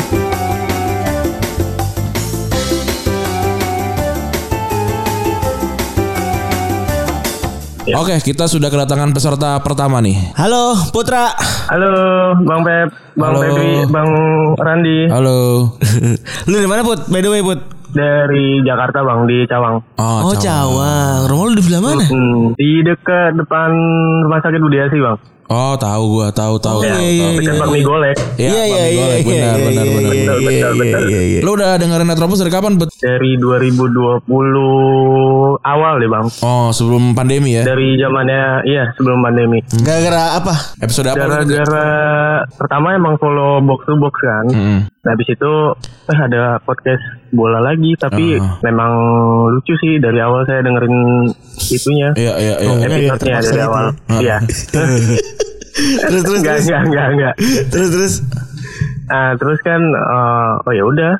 B: Oke, kita sudah kedatangan peserta pertama nih.
D: Halo Putra.
C: Halo Bang Pep, Bang
B: Halo.
C: Febri, Bang Randi
B: Halo.
D: lu dari mana Put? By the way Put.
C: dari Jakarta Bang di Cawang.
D: Oh,
B: Cawang.
D: Cawang. Rumah lu di sebelah mana?
C: Hmm, di dekat depan rumah sakit Budi Asi Bang.
B: Oh, tahu gua, tahu tahu.
D: Iya,
B: tahu,
D: iya,
B: tahu.
C: Dekat Pak Mie Golek
B: Iya, Bang Golek, benar, benar, benar.
D: Benar, benar, benar.
B: Lu udah dengerin Retropus dari kapan, Bet?
C: dari 2020 awal deh Bang.
B: Oh, sebelum pandemi ya.
C: Dari zamannya iya sebelum pandemi.
D: Gara-gara apa?
B: Episode apa? lu?
C: Gara-gara pertama emang follow box to box kan.
B: Mm-mm.
C: Nah, habis itu eh ada podcast bola lagi tapi
B: Ah.
C: memang lucu sih dari awal saya dengerin itunya
B: Iya, iya,
C: Oh,
B: iya.
C: episode-nya dari
D: terpaksa
C: awal.
B: Ah.
C: Iya.
D: Terus terus
C: Enggak,
D: terus.
C: enggak, enggak, enggak.
D: Terus terus.
C: Ah, terus kan eh, oh ya udah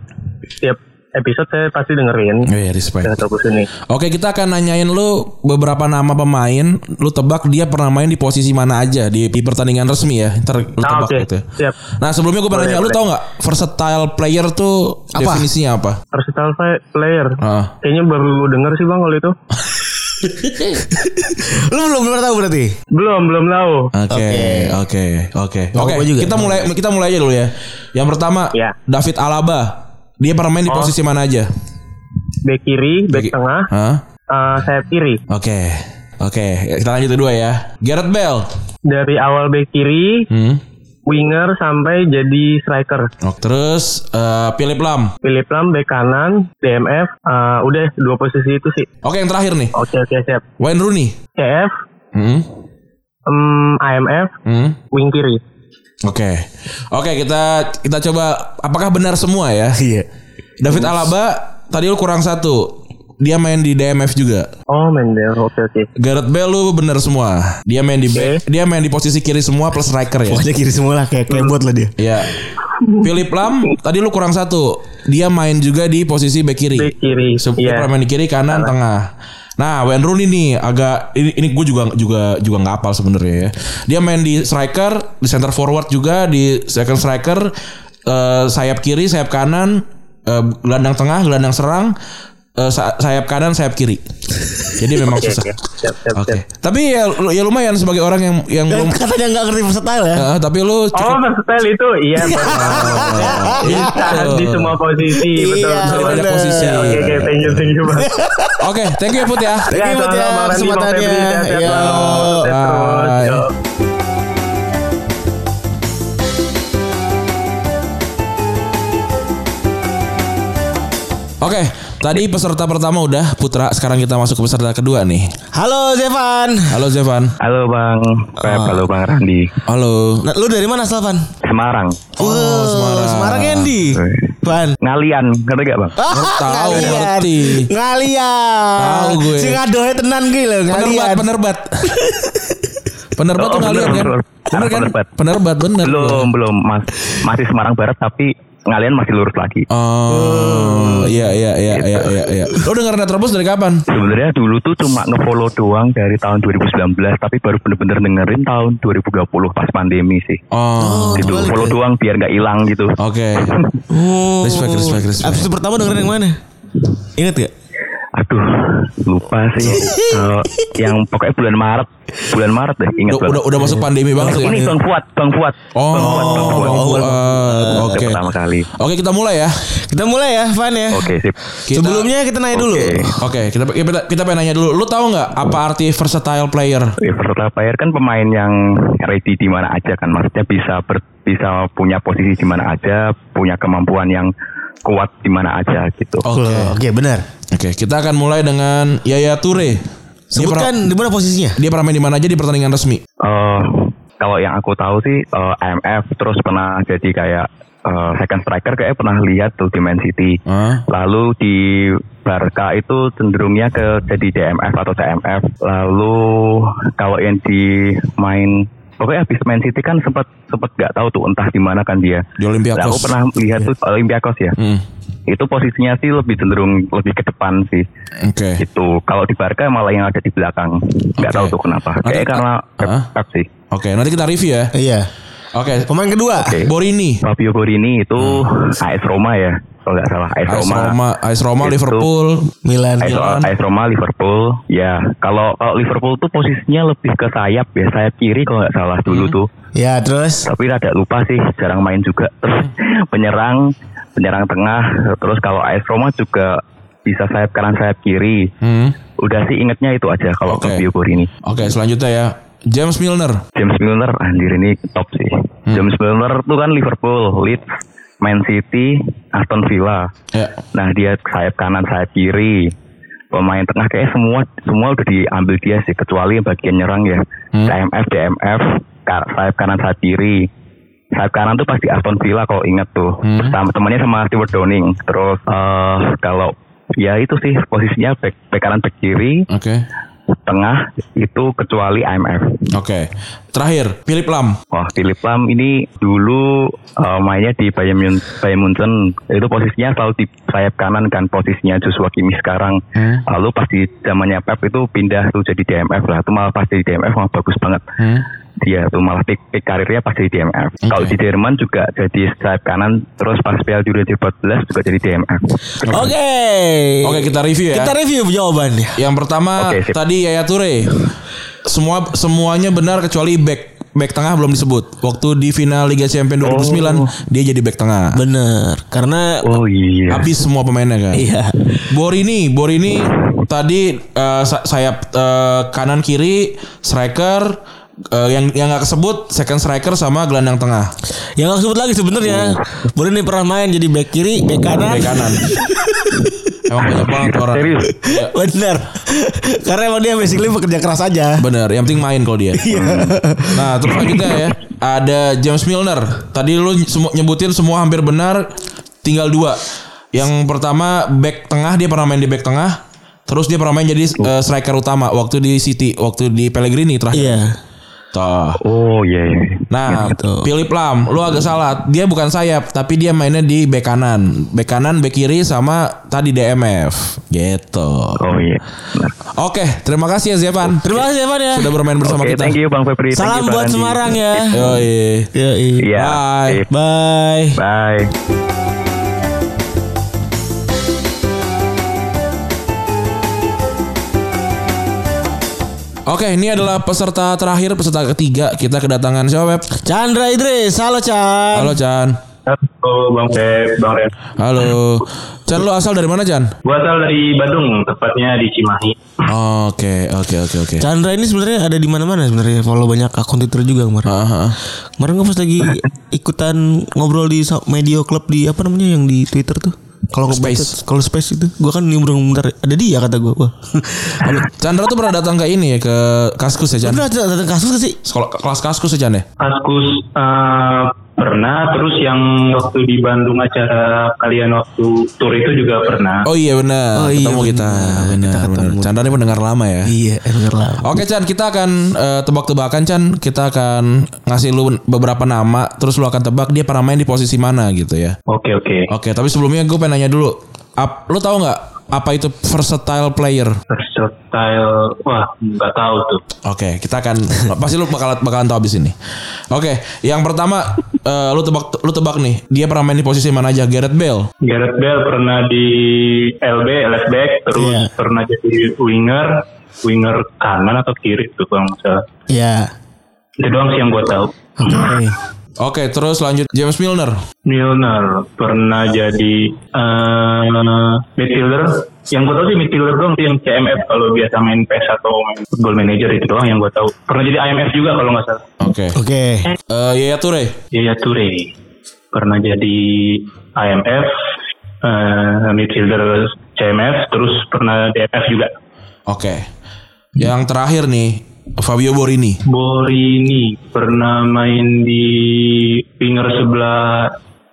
C: tiap episode saya pasti dengerin
B: Iya, respect.
C: dengan topik ini.
B: Oke kita akan nanyain lu beberapa nama pemain Lu tebak dia pernah main di posisi mana aja Di, di pertandingan resmi ya Ntar lu
C: Ah,
B: tebak
C: oke.
B: gitu
C: Siap.
B: Nah sebelumnya gue pernah
C: Boleh,
B: nanya Lu
C: boleh.
B: tau gak versatile player tuh
D: Apa?
B: definisinya apa?
C: Versatile play- player.
B: Ah.
C: Kayaknya baru lu denger sih Bang kalau itu.
D: Lu belum pernah tahu berarti?
C: Belum, belum tahu.
B: Oke, oke, oke,
D: Gak
B: oke.
D: apa-apa juga.
B: Kita mulai, kita mulai aja dulu ya. Yang pertama,
C: Iya.
B: David Alaba. Dia pernah main di
C: Oh.
B: posisi mana aja?
C: Back kiri, back tengah,
B: Hah? Ah.
C: eh, sayap kiri.
B: Oke, oke. Kita lanjut kedua ya. Gareth Bale.
C: Dari awal back kiri,
B: Hmm.
C: winger sampai jadi striker.
B: Oke. Terus eh, Philip Lam.
C: Philip Lam bek kanan, DMF, eh, udah dua posisi itu sih.
B: Oke, yang terakhir nih.
C: Oke oke siap.
B: Wayne Rooney.
C: CF,
B: Hmm.
C: em, AMF,
B: Hmm.
C: wing kiri.
B: Oke. Oke, kita kita coba apakah benar semua ya?
D: Iya.
B: David Alaba tadi lu kurang satu. Dia main di DMF juga.
C: Oh Mendel, oke oke.
B: Gareth Bale lu bener semua. Dia main di back- dia main di posisi kiri semua plus striker ya.
D: Pokoknya kiri semua lah kayak kayak buat lah dia.
B: Iya. Philip Lam tadi lu kurang satu. Dia main juga di posisi back kiri.
C: Back kiri,
B: Sup-
C: iya.
B: pernah main di kiri kanan tengah. Nah, Wayne Rooney nih agak ini, ini gue juga juga juga nggak apal sebenarnya ya. Dia main di striker, di center forward juga, di second striker, eh, sayap kiri, sayap kanan, eh, gelandang tengah, gelandang serang, eh, sa- sayap kanan, sayap kiri. Jadi memang
C: Oke
B: susah.
C: oke. Siap siap
B: Oke.
C: siap.
B: Tapi ya, lu- ya lumayan sebagai orang yang yang belum
D: Katanya nggak ngerti versatile ya.
B: Eh, tapi lu
C: Oh versatile itu, iya. Oh, Bisa
B: Gitu.
C: di semua posisi, betul
D: Iya,
C: betul.
B: Dari banyak
D: bener.
B: posisi.
C: Oke oke, thank you thank you bang.
B: Oke, thank you ya Put ya.
D: Thank
C: Ya,
D: you buat ya
C: sama-sama, Bang Randy, Bang Febri,
D: kesempatannya.
C: sehat-sehat,
D: Yo.
C: Bang. Sehat terus,
B: Bye.
C: yo.
B: Oke, tadi peserta pertama udah Putra. Sekarang kita masuk ke peserta kedua nih.
D: Halo Zevan.
B: Halo Zevan.
E: Halo Bang Pep,
B: Ah.
E: halo Bang Randi.
B: Halo.
D: Nah, lu dari mana Selvan?
E: Semarang.
D: Oh, Semarang. Semarang Andy. Van.
E: Ngalian, ngerti gak Bang?
D: Ah,
B: Tahu, ngerti.
D: Ngalian.
B: Tahu gue.
D: Sing adohe tenan ki lho,
B: Penerbat,
D: ngalian.
B: penerbat. penerbat tuh
E: Oh,
B: ngalian
E: bener,
B: kan?
E: bener.
B: Bener kan?
E: Penerbat.
B: Penerbat bener.
E: Belum, belum. Mas, masih Semarang Barat tapi ngalian masih lurus lagi.
B: Oh, iya iya iya iya
E: Gitu.
B: iya iya. Lo dengar Netrobus dari kapan?
E: Sebenarnya dulu tuh cuma nge-follow doang dari tahun 2019 tapi baru bener-bener dengerin tahun 2020 pas pandemi sih.
B: Oh.
E: gitu,
D: balik
E: follow
D: ya?
E: doang biar nggak hilang gitu.
B: Oke.
D: Oh.
B: Respect, respect, respect.
D: Abis itu pertama dengerin yang mana? Ingat gak?
E: Aduh, lupa sih. Eh, yang pokoknya bulan Maret, bulan Maret deh,
B: Udah,
E: ingat banget. Eh,
B: udah udah masuk pandemi banget ya.
E: Ini Bang Fuad, Bang Fuad. Bang Fuad, Bang
B: Oh,
E: Fuad.
B: Bang Fuad.
E: Udah
B: Oke.
E: Pertama kali.
B: Oke, kita mulai ya.
D: Kita mulai ya, Van ya.
E: Oke, sip.
B: Kita-
D: Sebelumnya kita nanya dulu.
E: Oke.
B: Oke, kita, kita kita pengen nanya dulu. Lu tahu nggak apa arti versatile player?
E: Ya, versatile player kan pemain yang ready di mana aja kan, maksudnya bisa ber, bisa punya posisi di mana aja, punya kemampuan yang kuat di mana aja gitu.
B: Oke.
D: Oke, benar.
B: Oke, kita akan mulai dengan Yaya Ture. Dia pernah,
D: Sebutkan di mana posisinya?
B: dia pernah main di mana aja di pertandingan resmi?
E: Eh, kalau yang aku tahu sih eh, AMF terus pernah jadi kayak eh, second striker kayak pernah lihat tuh di Man City.
B: Hah?
E: Lalu di Barca itu cenderungnya ke jadi DMF atau CMF. Lalu kalau yang di main pokoknya habis main City kan sempat sempat nggak tahu tuh entah di mana kan dia.
B: Di Olympiakos. Iya.
E: Nah, aku pernah lihat tuh Olympiakos ya.
B: Hmm.
E: Itu posisinya sih lebih cenderung lebih ke depan sih.
B: Oke.
E: Gitu. Kalau di Barca malah yang ada di belakang. Nggak
B: Oke.
E: tahu tuh kenapa.
B: Nanti-
E: Kayaknya karena Pep-
B: Hah?
E: Pep sih.
B: Oke, nanti kita review ya.
D: Iya.
B: Oke.
D: Pemain kedua.
E: Oke.
B: Borini.
E: Fabio Borini itu AS Roma ya. kalau nggak salah AS
B: AS
E: Roma.
B: Hmm. Roma, iya. AS Roma
E: Itu.
B: Liverpool,
D: Milan.
E: AS,
B: Milan.
E: AS Roma Liverpool ya kalau kalau Liverpool tuh posisinya lebih ke sayap ya sayap kiri kalau nggak salah dulu
B: Hmm.
E: tuh
D: Ya terus
E: tapi rada lupa sih jarang main juga terus
B: Hmm.
E: penyerang penyerang tengah terus kalau AS Roma juga bisa sayap kanan sayap kiri
B: Hmm.
E: udah sih ingetnya itu aja kalau
B: Oke.
E: ke Biogor ini
B: Oke, selanjutnya ya James Milner.
E: James Milner anjir ini top sih James Milner tuh kan Liverpool Leeds Man City Aston Villa
B: Ya.
E: Nah dia sayap kanan, sayap kiri. Pemain tengah kayaknya semua semua udah diambil dia sih kecuali yang bagian nyerang ya. CMF, DMF, ka- sayap kanan, sayap kiri. Sayap kanan tuh pasti Aston Villa kalau ingat tuh. Terus sama- temannya sama Stewart Downing. Terus eh, kalau ya itu sih posisinya back, back kanan, back kiri,
B: Oke.
E: tengah itu kecuali IMF.
B: Oke. Terakhir, Philip Lam.
E: Wah, Philip Lam ini dulu eh, mainnya di Bayern, Mun- Bayern Munchen itu posisinya selalu di sayap kanan kan posisinya Joshua Kimi sekarang. Lalu pas di zamannya Pep itu pindah tuh jadi DMF lah. Itu malah pas di DMF malah bagus banget. Dia tuh malah peak, peak karirnya pas di DMF. Kalau di Jerman juga jadi sayap kanan terus pas Piala Dunia 2014 juga jadi DMF.
D: Oke
B: Oke, kita review ya.
D: Kita review jawabannya
B: Yang pertama
E: Oke, sip.
B: tadi Yaya Ture. Semua semuanya benar kecuali back back tengah belum disebut. Waktu di final Liga Champions 2009 dia jadi back tengah.
E: Iya.
D: Bener Karena
E: Oh iya.
B: Habis semua pemainnya kan.
D: Iya
B: Borini, Borini tadi eh, sa- sayap eh, kanan kiri striker eh, yang yang nggak kesebut second striker sama gelandang tengah.
D: Yang aku Ya, sebut lagi sebenarnya Boleh nih pernah main jadi back kiri Back
B: Iya.
D: kanan
B: Back kanan. Emang banyak banget tuh orang.
E: Serius?
D: Bener Karena emang dia basically bekerja keras aja
B: Bener, yang penting main kalau dia.
E: Iya.
B: Nah, terus selanjutnya ya ada James Milner. Tadi lu semu- nyebutin semua hampir benar, tinggal dua. Yang pertama back tengah dia pernah main di back tengah. Terus dia pernah main jadi eh, striker utama waktu di City, waktu di Pellegrini terakhir.
D: Iya
B: Tuh.
E: Oh iya. iya.
B: Nah, Philip Lam, lu agak salah. Dia bukan sayap, tapi dia mainnya di bek kanan. Bek kanan, bek kiri sama tadi DMF. Gitu.
E: Oh iya. Nah.
B: Oke, terima kasih ya Zevan.
D: Terima kasih Evan ya
B: Sudah bermain bersama
E: Oke,
B: kita.
E: thank you Bang Febri. Thank
D: Salam
E: you, Bang
D: buat
E: Andi.
D: Semarang ya
B: Iya. Yoi.
D: Yoi.
E: Iya.
B: Bye.
E: sip.
D: Bye
E: Bye.
B: Oke, ini adalah peserta terakhir, peserta ketiga. Kita kedatangan siapa, Beb?
D: Chandra Idris Halo Chan
B: Halo, Chan.
C: Halo Bang Feb, Bang Ren.
B: Halo. Chan, lu asal dari mana, Chan?
C: Gua asal dari Bandung, tepatnya di Cimahi.
B: Oke, oke, oke, oke.
D: Chandra ini sebenarnya ada di mana-mana sebenarnya follow banyak akun Twitter juga kemarin.
B: Ah, ah, ah.
D: Kemarin gue pas lagi ikutan ngobrol di sa- media club di apa namanya yang di Twitter tuh. Kalau
B: Space.
D: space, kalau space itu, gue kan nyembrung bentar. Ada dia kata gue. Wah.
B: Chandra tuh pernah datang ke ini ya, ke Kaskus ya, Chan?
D: Bener ada datang kasus gak sih?
B: Sekolah kelas Kaskus ya, Chan ya?
C: Kaskus eh, pernah, terus yang waktu di Bandung acara kalian waktu tour itu juga pernah.
B: Oh iya benar,
D: Oh iya,
B: ketemu kita.
D: benar.
B: Benar,
D: Kita
B: benar.
D: ketemu.
B: Chandra ini pendengar lama ya.
D: Iya, denger lah.
B: Oke Chan, kita akan eh, tebak-tebakan Chan. Kita akan ngasih lu beberapa nama, terus lu akan tebak dia pernah main di posisi mana gitu ya.
C: Oke oke.
B: Oke, tapi sebelumnya gue pengen nanya dulu. Ap, lu tahu nggak apa itu versatile player?
C: Versatile, wah nggak tahu tuh.
B: Oke, kita akan pasti lu bakal bakalan tahu abis ini. Oke, yang pertama eh, lu tebak lu tebak nih, dia pernah main di posisi mana aja? Gareth Bale.
C: Gareth Bale pernah di LB, left back, terus
D: Iya.
C: pernah jadi winger, winger kanan atau kiri tuh kalau nggak salah.
D: Iya.
C: Itu doang sih yang gue tahu.
D: Oke.
B: Oke, terus lanjut James Milner.
C: Milner pernah jadi eh midfielder. Yang gue tahu sih midfielder doang sih yang CMF kalau biasa main PS atau main Football Manager itu doang yang gue tahu. Pernah jadi IMF juga kalau nggak salah.
B: Oke. Eh
D: Oke.
B: Yaya Toure.
C: Yaya Toure pernah jadi IMF eh midfielder CMF terus pernah DMF juga.
B: Oke. Yang terakhir nih Fabio Borini.
C: Borini pernah main di winger sebelah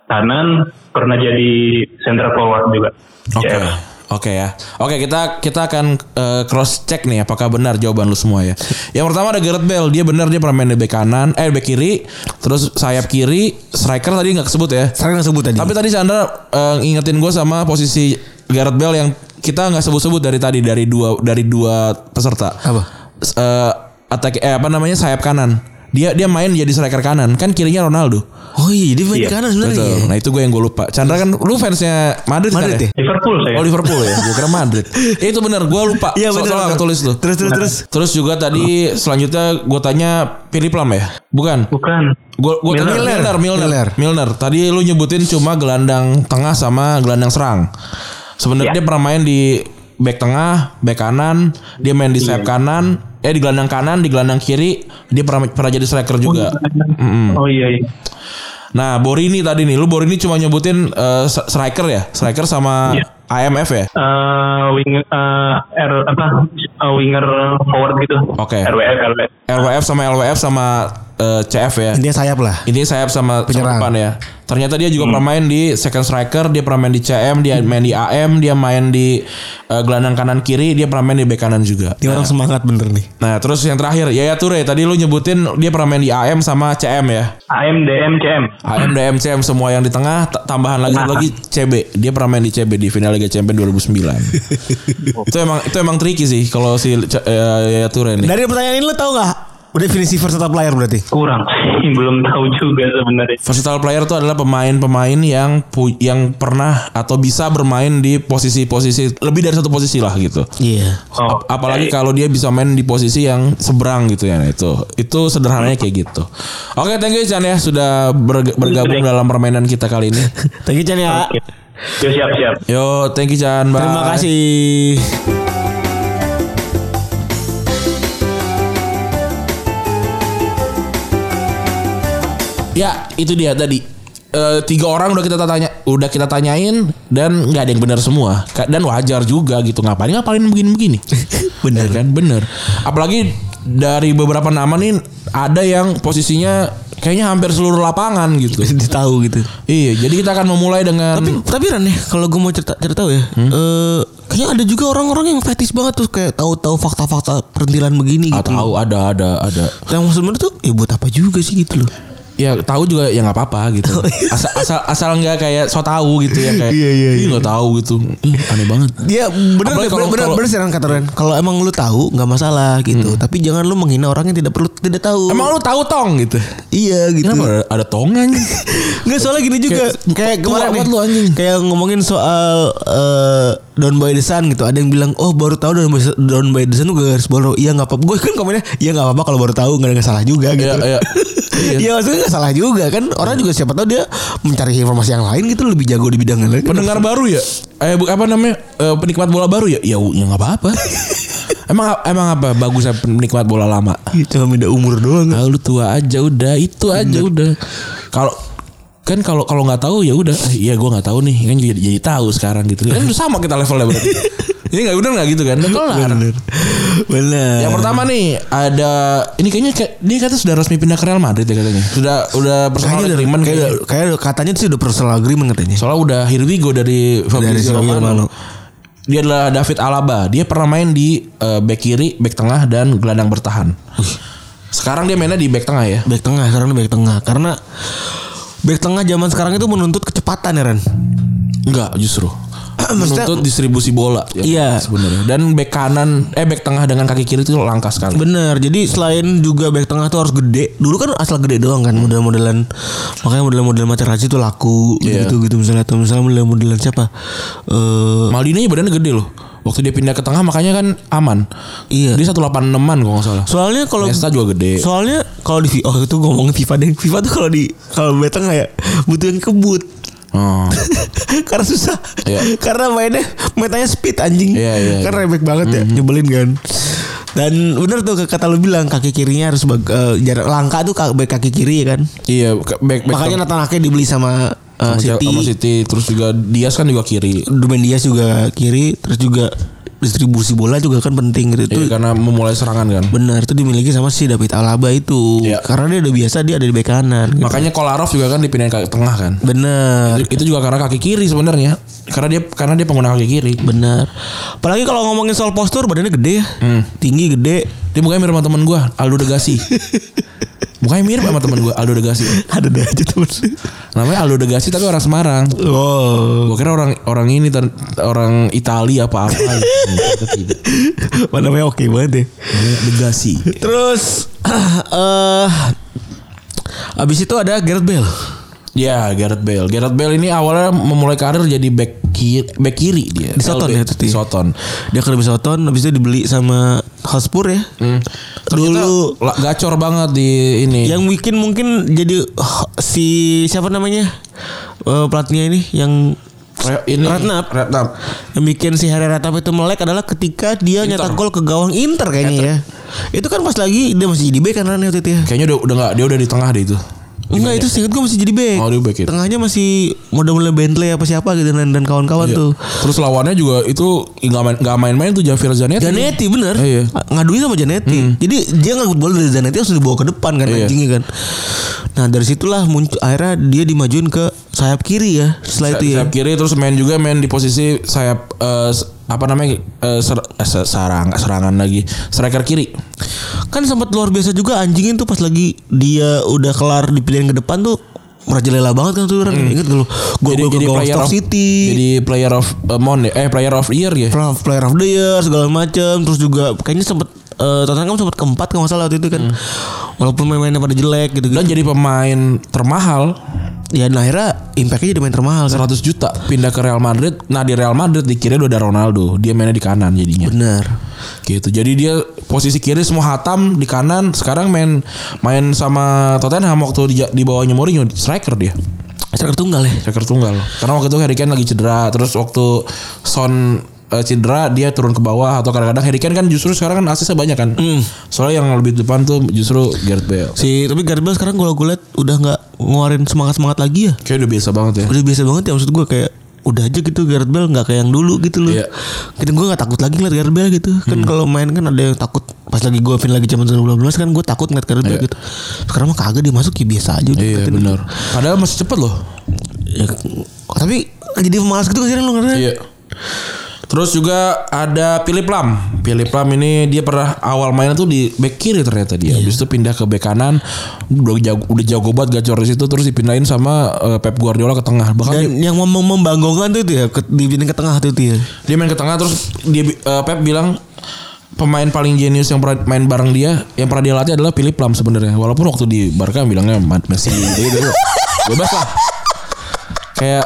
C: kanan, pernah jadi center forward juga.
B: Oke.
D: Iya.
C: CMF.
B: Oke ya. Oke, kita kita akan cross check nih apakah benar jawaban lu semua ya. Yang pertama ada Gareth Bale, dia benar dia pernah main di bek kanan, eh bek kiri, terus sayap kiri, striker tadi nggak kesebut ya.
D: Sekarang nggak sebut tadi.
B: Tapi tadi Chandra eh, ngingetin gue sama posisi Gareth Bale yang kita nggak sebut-sebut dari tadi dari dua dari dua peserta.
D: Apa?
B: S- eh, attack eh apa namanya sayap kanan. Dia dia main jadi striker kanan, kan kirinya Ronaldo.
D: Oh iya dia main di
C: Iya,
D: kanan sebenarnya.
B: Betul. Nah, itu gue yang gue lupa. Chandra kan lu fansnya Madrid,
D: Madrid
B: kan ya?
D: ya?
C: Liverpool saya.
B: Oh Liverpool ya, gue kira Madrid. Ya, itu benar, gue lupa.
D: Iya bener
B: Soalnya
D: bener.
B: nggak tulis tuh.
D: Terus terus terus.
B: Terus juga tadi selanjutnya gue tanya Philip Lam ya? Bukan.
C: Bukan.
B: Gue gue
C: Milner.
B: Milner, Milner,
D: Milner.
B: Milner. Tadi lu nyebutin cuma gelandang tengah sama gelandang serang. Sebenarnya
C: Ya.
B: dia pernah main di back tengah, back kanan, dia main di sayap kanan, eh di gelandang kanan, di gelandang kiri, dia pernah pernah jadi striker juga.
C: Oh iya, iya.
B: Nah, Borini tadi nih, lu Borini cuma nyebutin eh, striker ya, striker sama
C: Iya.
B: AMF ya.
C: Eh, wing eh, R apa eh, winger forward gitu.
B: Oke.
C: RWF RWF.
B: RWF sama LWF sama eh, CF ya.
D: Intinya sayap lah.
B: Ini sayap sama sama
D: Penyerang.
B: depan ya. Ternyata dia juga pernah main di second striker, dia pernah main di CM, dia main di AM, dia main di eh, gelandang kanan kiri, dia pernah main di bek kanan juga.
D: Dia orang semangat bener nih.
B: Nah, terus yang terakhir Yaya Toure tadi lu nyebutin dia pernah main di AM sama CM ya.
C: AM DM CM.
B: AM, DM, CM semua yang di tengah t- tambahan lagi satu lagi CB. Dia pernah main di CB di final Liga Champions 2009. itu emang itu emang tricky sih kalau si C- eh, Yaya Toure ini.
D: Dari pertanyaan ini lu tau gak? Definisi versatile player berarti.
C: Kurang sih, belum tahu juga sebenarnya.
B: Versatile player itu adalah pemain-pemain yang pu- yang pernah atau bisa bermain di posisi-posisi lebih dari satu posisi lah gitu.
D: Iya.
C: Oh,
B: Ap- Apalagi kalau dia bisa main di posisi yang seberang gitu ya. Nah, itu itu sederhananya kayak gitu. Oke, thank you Chan ya sudah berg- bergabung dalam permainan kita kali ini.
D: Thank you Chan ya.
C: Ya, siap siap.
B: Yo, thank you Chan. Bye.
D: Terima kasih.
B: Ya, itu dia tadi. Eh, tiga orang udah kita tanya, udah kita tanyain dan nggak ada yang benar semua. Ka- Dan wajar juga gitu. Ngapain ngapain begini-begini?
D: Bener.
B: kan? Bener. Apalagi dari beberapa nama nih ada yang posisinya kayaknya hampir seluruh lapangan gitu.
D: Dia tahu gitu.
B: iya, jadi kita akan memulai dengan
D: Tapi tapi Ran ya, kalau gue mau cerita cerita ya,
B: Hmm?
D: eh, kayaknya ada juga orang-orang yang fetis banget tuh kayak tahu-tahu fakta-fakta perintilan begini
B: Ah,
D: gitu.
B: tahu ada ada ada.
D: Yang maksud bener tuh, ya buat apa juga sih gitu loh.
B: Ya tahu juga ya nggak apa-apa gitu. Asal asal asal nggak kayak so tahu gitu ya kayak.
D: Oh, Iya, iya,
B: "Ih, nggak tahu gitu. Ih, aneh banget.
D: Dia Iya, bener
B: Apalagi
D: bener
B: kalau-
D: bener,
B: kalau- Hmm.
D: bener sih Ran kata Ran. Kalau emang lu tahu nggak masalah gitu, tapi jangan lu menghina orang yang tidak perlu tidak tahu.
B: Emang lu tahu tong gitu.
D: iya gitu.
B: Kenapa ada, ada tongan?
D: Nggak soalnya gini juga
B: Kayak-
D: kayak
B: tua
D: kemarin nih,
B: banget lu, anjing.
D: kayak ngomongin soal eh Down by the Sun gitu. Ada yang bilang, "Oh, baru tahu Down by, Down by the Sun tuh garis baru." Iya, nggak apa-apa. Gue kan komennya, "Iya, nggak apa-apa kalau baru tahu nggak ada nggak salah juga." gitu.
B: Iya, iya. Iya.
D: Iya, maksudnya nggak salah juga kan. Orang juga siapa tahu dia mencari informasi yang lain gitu lebih jago di bidang yang lain.
B: Pendengar baru ya? Eh bu- apa namanya? Eh, penikmat bola baru ya? Ya ya nggak apa-apa. emang emang apa bagusnya penikmat bola lama?
D: Iya, cuma beda umur doang.
B: Ah, lu tua aja udah, itu aja udah. Kalau kan kalau kalau nggak tahu ya udah, Eh, iya gua nggak tahu nih, kan jadi, jadi tahu sekarang gitu. Kan udah sama kita levelnya berarti. Ini nggak udah nggak gitu kan? Udah kelar.
D: Bener. Bener.
B: Yang pertama nih ada ini kayaknya kayak- dia kata sudah resmi pindah ke Real Madrid ya katanya. Sudah udah personal
D: kayaknya udah-
B: agreement
D: kayak,
B: kayaknya.
D: kayak katanya sih udah personal agreement katanya.
B: Soalnya udah here we go dari Fabrizio
D: Fabrizio Romano.
B: Romano. Dia adalah David Alaba. Dia pernah main di eh, back kiri, back tengah dan gelandang bertahan. Sekarang dia mainnya di back tengah ya.
D: back tengah sekarang dia back tengah karena back tengah zaman sekarang itu menuntut kecepatan ya Ren
B: Enggak, justru.
D: Maksudnya-
B: Menuntut distribusi bola. ya,
D: Iya.
B: sebenarnya. Dan back kanan, eh back tengah dengan kaki kiri itu kan. langka sekali.
D: bener jadi selain juga back tengah tuh harus gede dulu kan asal gede doang kan model-modelan makanya model-model Materazzi tuh laku
B: Iya.
D: gitu gitu misalnya atau misalnya model-modelan siapa eh
B: Maldini badannya gede loh. Waktu dia pindah ke tengah makanya kan aman.
D: Iya.
B: Dia 186-an kalau nggak salah.
D: soalnya kalau
B: Nesta juga gede.
D: soalnya kalau di oh itu ngomong FIFA deh FIFA tuh kalau di kalau back tengah ya butuh yang kebut
B: Oh.
D: karena susah
B: Iya.
D: karena mainnya metanya speed anjing
B: Iya, iya,
D: kan
B: iya.
D: rebek banget ya nyebelin kan dan bener tuh kata lu bilang kaki kirinya harus bag- eh, jarak langka tuh kaki, kaki kiri ya kan
B: iya, ke- back, back
D: makanya Nathan Ake dibeli sama, eh,
B: tengah sama
D: City,
B: sama City. Terus juga Dias kan juga kiri.
D: Ruben Dias juga kiri terus juga distribusi bola juga kan penting gitu
B: Iya,
D: Itu
B: karena memulai serangan kan.
D: benar itu dimiliki sama si David Alaba itu
B: Iya.
D: karena dia udah biasa dia ada di bek kanan gitu.
B: Makanya Kolarov juga kan dipindahin ke tengah kan.
D: bener
B: Itu juga karena kaki kiri sebenarnya. Karena dia karena dia pengguna kaki kiri. Hmm.
D: Benar. Apalagi kalau ngomongin soal postur badannya gede ya. Tinggi gede.
B: Dia mukanya mirip sama temen gue, Aldo Degasi. mukanya mirip sama temen gue, Aldo Degasi.
D: Ada deh aja temen lu.
B: Namanya Aldo Degasi tapi orang Semarang.
D: Oh,
B: Gue kira orang orang ini ter- orang Italia apa apa.
D: namanya oke banget deh.
B: Degasi.
D: Terus eh abis itu ada Gareth Bale.
B: Ya Gareth Bale. Gareth Bale ini awalnya memulai karir jadi back kiri, back kiri dia.
D: Di Soton
B: LB,
D: ya, Tuti?
B: Di Soton.
D: Dia ke Soton habis itu dibeli sama Hotspur ya. Dulu
B: Ternyata Iya. la- gacor banget di ini.
D: yang bikin mungkin jadi oh, si siapa namanya? Eh, pelatihnya ini yang
B: Re- ini
D: Ratnap.
B: Ratnap.
D: yang bikin si Harry Ratap itu melek adalah ketika dia nyetak gol ke gawang Inter kayaknya ya. Itu kan pas lagi dia masih jadi bek kan Ran, ya waktu itu ya.
B: Kayaknya udah udah nggak dia udah di tengah deh itu.
D: Enggak itu seingat gue masih jadi back.
B: ya? Oh, dia back ya.
D: Tengahnya masih model-model Bentley apa siapa gitu dan, dan kawan-kawan
B: Iya.
D: tuh.
B: Terus lawannya juga itu nggak main nggak main-main tuh Javier Zanetti.
D: Janetti bener
B: Iya. Hmm.
D: Ngaduin sama Janetti Jadi dia ngangkut bola dari Janetti Harus dibawa ke depan kan
B: Iya.
D: anjingnya kan Nah dari situlah muncul Akhirnya dia dimajuin ke sayap kiri ya Setelah itu ya
B: sayap kiri terus main juga main di posisi sayap eh, s- apa namanya eh, ser- eh, se- serang serangan lagi striker kiri
D: Kan sempat luar biasa juga anjingin tuh pas lagi Dia udah kelar di pilihan ke depan tuh merajalela banget kan tuh Ren.
B: Hmm.
D: Ingat gak lu Gol gol ke gawang Stoke City
B: jadi player of eh, Mon eh player of year ya
D: Player of- player of the year segala macam terus juga kayaknya sempet eh Tottenham kamu sempat keempat kalau nggak salah waktu itu kan walaupun main-mainnya pada jelek gitu
B: dan
D: gitu
B: Hmm. jadi pemain termahal
D: ya dan akhirnya impactnya jadi main termahal kan
B: 100 juta pindah ke Real Madrid nah di Real Madrid di kiri udah ada Ronaldo dia mainnya di kanan jadinya
D: benar
B: gitu jadi dia posisi kiri semua hatam di kanan sekarang main main sama Tottenham waktu di, di bawahnya Mourinho striker dia
D: Striker tunggal ya
B: striker tunggal. Karena waktu itu Harry Kane lagi cedera, terus waktu Son eh, cedera dia turun ke bawah atau kadang-kadang Harry Kane kan justru sekarang kan asisnya banyak kan. Soalnya yang lebih depan tuh justru Gareth Bale.
D: Si tapi Gareth Bale sekarang kalau gue liat udah nggak ngeluarin semangat semangat lagi ya.
B: Kayak udah biasa banget ya.
D: Udah biasa banget ya maksud gue kayak udah aja gitu Gareth Bale nggak kayak yang dulu gitu loh.
B: Iya. Hmm.
D: Kita gue nggak takut lagi ngeliat Gareth Bale gitu. Kan kalau main kan ada yang takut pas lagi gue pin lagi zaman 2012 kan gue takut ngeliat Gareth Bale
B: Iya.
D: gitu. Sekarang mah kagak dia masuk ya biasa aja. udah
B: Iya
D: ngeliatin.
B: benar. Padahal masih cepet loh.
D: Ya, tapi jadi pemalas gitu kan sih Ren, lu ngerti?
B: Iya. Terus juga ada Philip Lam. Philip Lam ini dia pernah awal mainnya tuh di back kiri ternyata dia. Habis itu pindah ke back kanan. Udah jago, udah jago banget gacor di situ terus dipindahin sama eh, Pep Guardiola ke tengah. Bahkan
D: Dan yang mem membanggongkan tuh itu ya ke, dipindahin ke tengah tuh itu ya.
B: dia main ke tengah terus dia bi- eh, Pep bilang pemain paling jenius yang pernah main bareng dia yang pernah dia latih adalah Philip Lam sebenarnya walaupun waktu di Barca bilangnya Ma- Messi gitu gitu bebas lah kayak